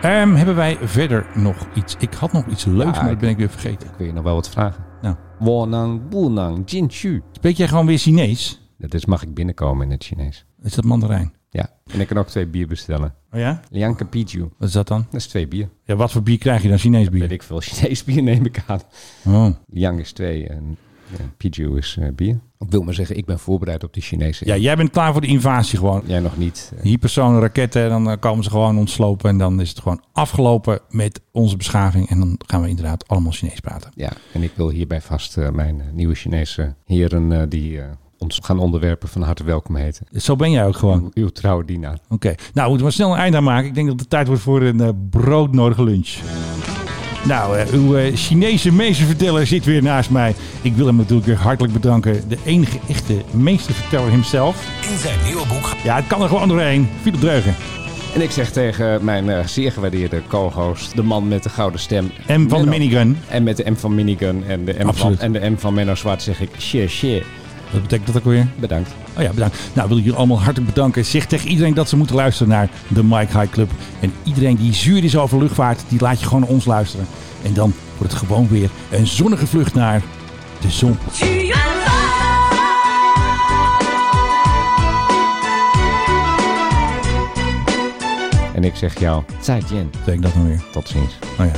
Speaker 3: Ehm, hebben wij verder nog iets? Ik had nog iets leuks, maar dat ben ik weer vergeten.
Speaker 4: Ik wil je nog wel wat vragen.
Speaker 3: Nou.
Speaker 4: Wonang, Boenang, Jinshu.
Speaker 3: Spreek jij gewoon weer Chinees?
Speaker 4: Dat is mag ik binnenkomen in het Chinees.
Speaker 3: Is dat Mandarijn?
Speaker 4: Ja, en ik kan ook twee bier bestellen.
Speaker 3: Oh ja?
Speaker 4: Liang Piju.
Speaker 3: Wat is dat dan?
Speaker 4: Dat is twee bier.
Speaker 3: Ja, wat voor bier krijg je dan? Chinees bier?
Speaker 4: Weet ik veel. Chinees bier neem ik aan.
Speaker 3: Oh.
Speaker 4: Liang is twee en ja, Piju is eh, bier. Ik wil maar zeggen, ik ben voorbereid op die Chinese.
Speaker 3: Ja, jij bent klaar voor de invasie gewoon.
Speaker 4: Jij nog niet.
Speaker 3: Hypersonen, raketten, en dan eh, komen ze gewoon ontslopen. En dan is het gewoon afgelopen met onze beschaving. En dan gaan we inderdaad allemaal Chinees praten.
Speaker 4: Ja, en ik wil hierbij vast eh, mijn eh, nieuwe Chinese heren eh, die eh, ons gaan onderwerpen van harte welkom heten.
Speaker 3: Zo ben jij ook gewoon.
Speaker 4: Uw, uw trouwe dienaar.
Speaker 3: Oké, nou moeten we snel een eind aan maken. Ik denk dat het tijd wordt voor een eh, broodnodige lunch. Nou, eh, uw eh, Chinese meesterverteller zit weer naast mij. Ik wil hem natuurlijk weer hartelijk bedanken. De enige echte meesterverteller himself.
Speaker 8: In zijn nieuwe boek
Speaker 3: Ja, het kan er gewoon doorheen. Philip Dreugen.
Speaker 4: En ik zeg tegen mijn eh, zeer gewaardeerde co-host, de man met de gouden stem.
Speaker 3: M van de minigun.
Speaker 4: En met de M van minigun en de M, van,
Speaker 3: Absoluut.
Speaker 4: en de M van Menno Zwart zeg ik, shit, shit.
Speaker 3: Wat betekent dat ook weer?
Speaker 4: Bedankt.
Speaker 3: Oh ja, bedankt. Nou, wil ik jullie allemaal hartelijk bedanken. Zeg tegen iedereen dat ze moeten luisteren naar de Mike High Club. En iedereen die zuur is over luchtvaart, die laat je gewoon naar ons luisteren. En dan wordt het gewoon weer een zonnige vlucht naar de zon.
Speaker 7: 去远方。
Speaker 4: En ik zeg jou, 再见.
Speaker 3: Zeg ik dat nou weer?
Speaker 4: Tot ziens.
Speaker 3: Oh ja.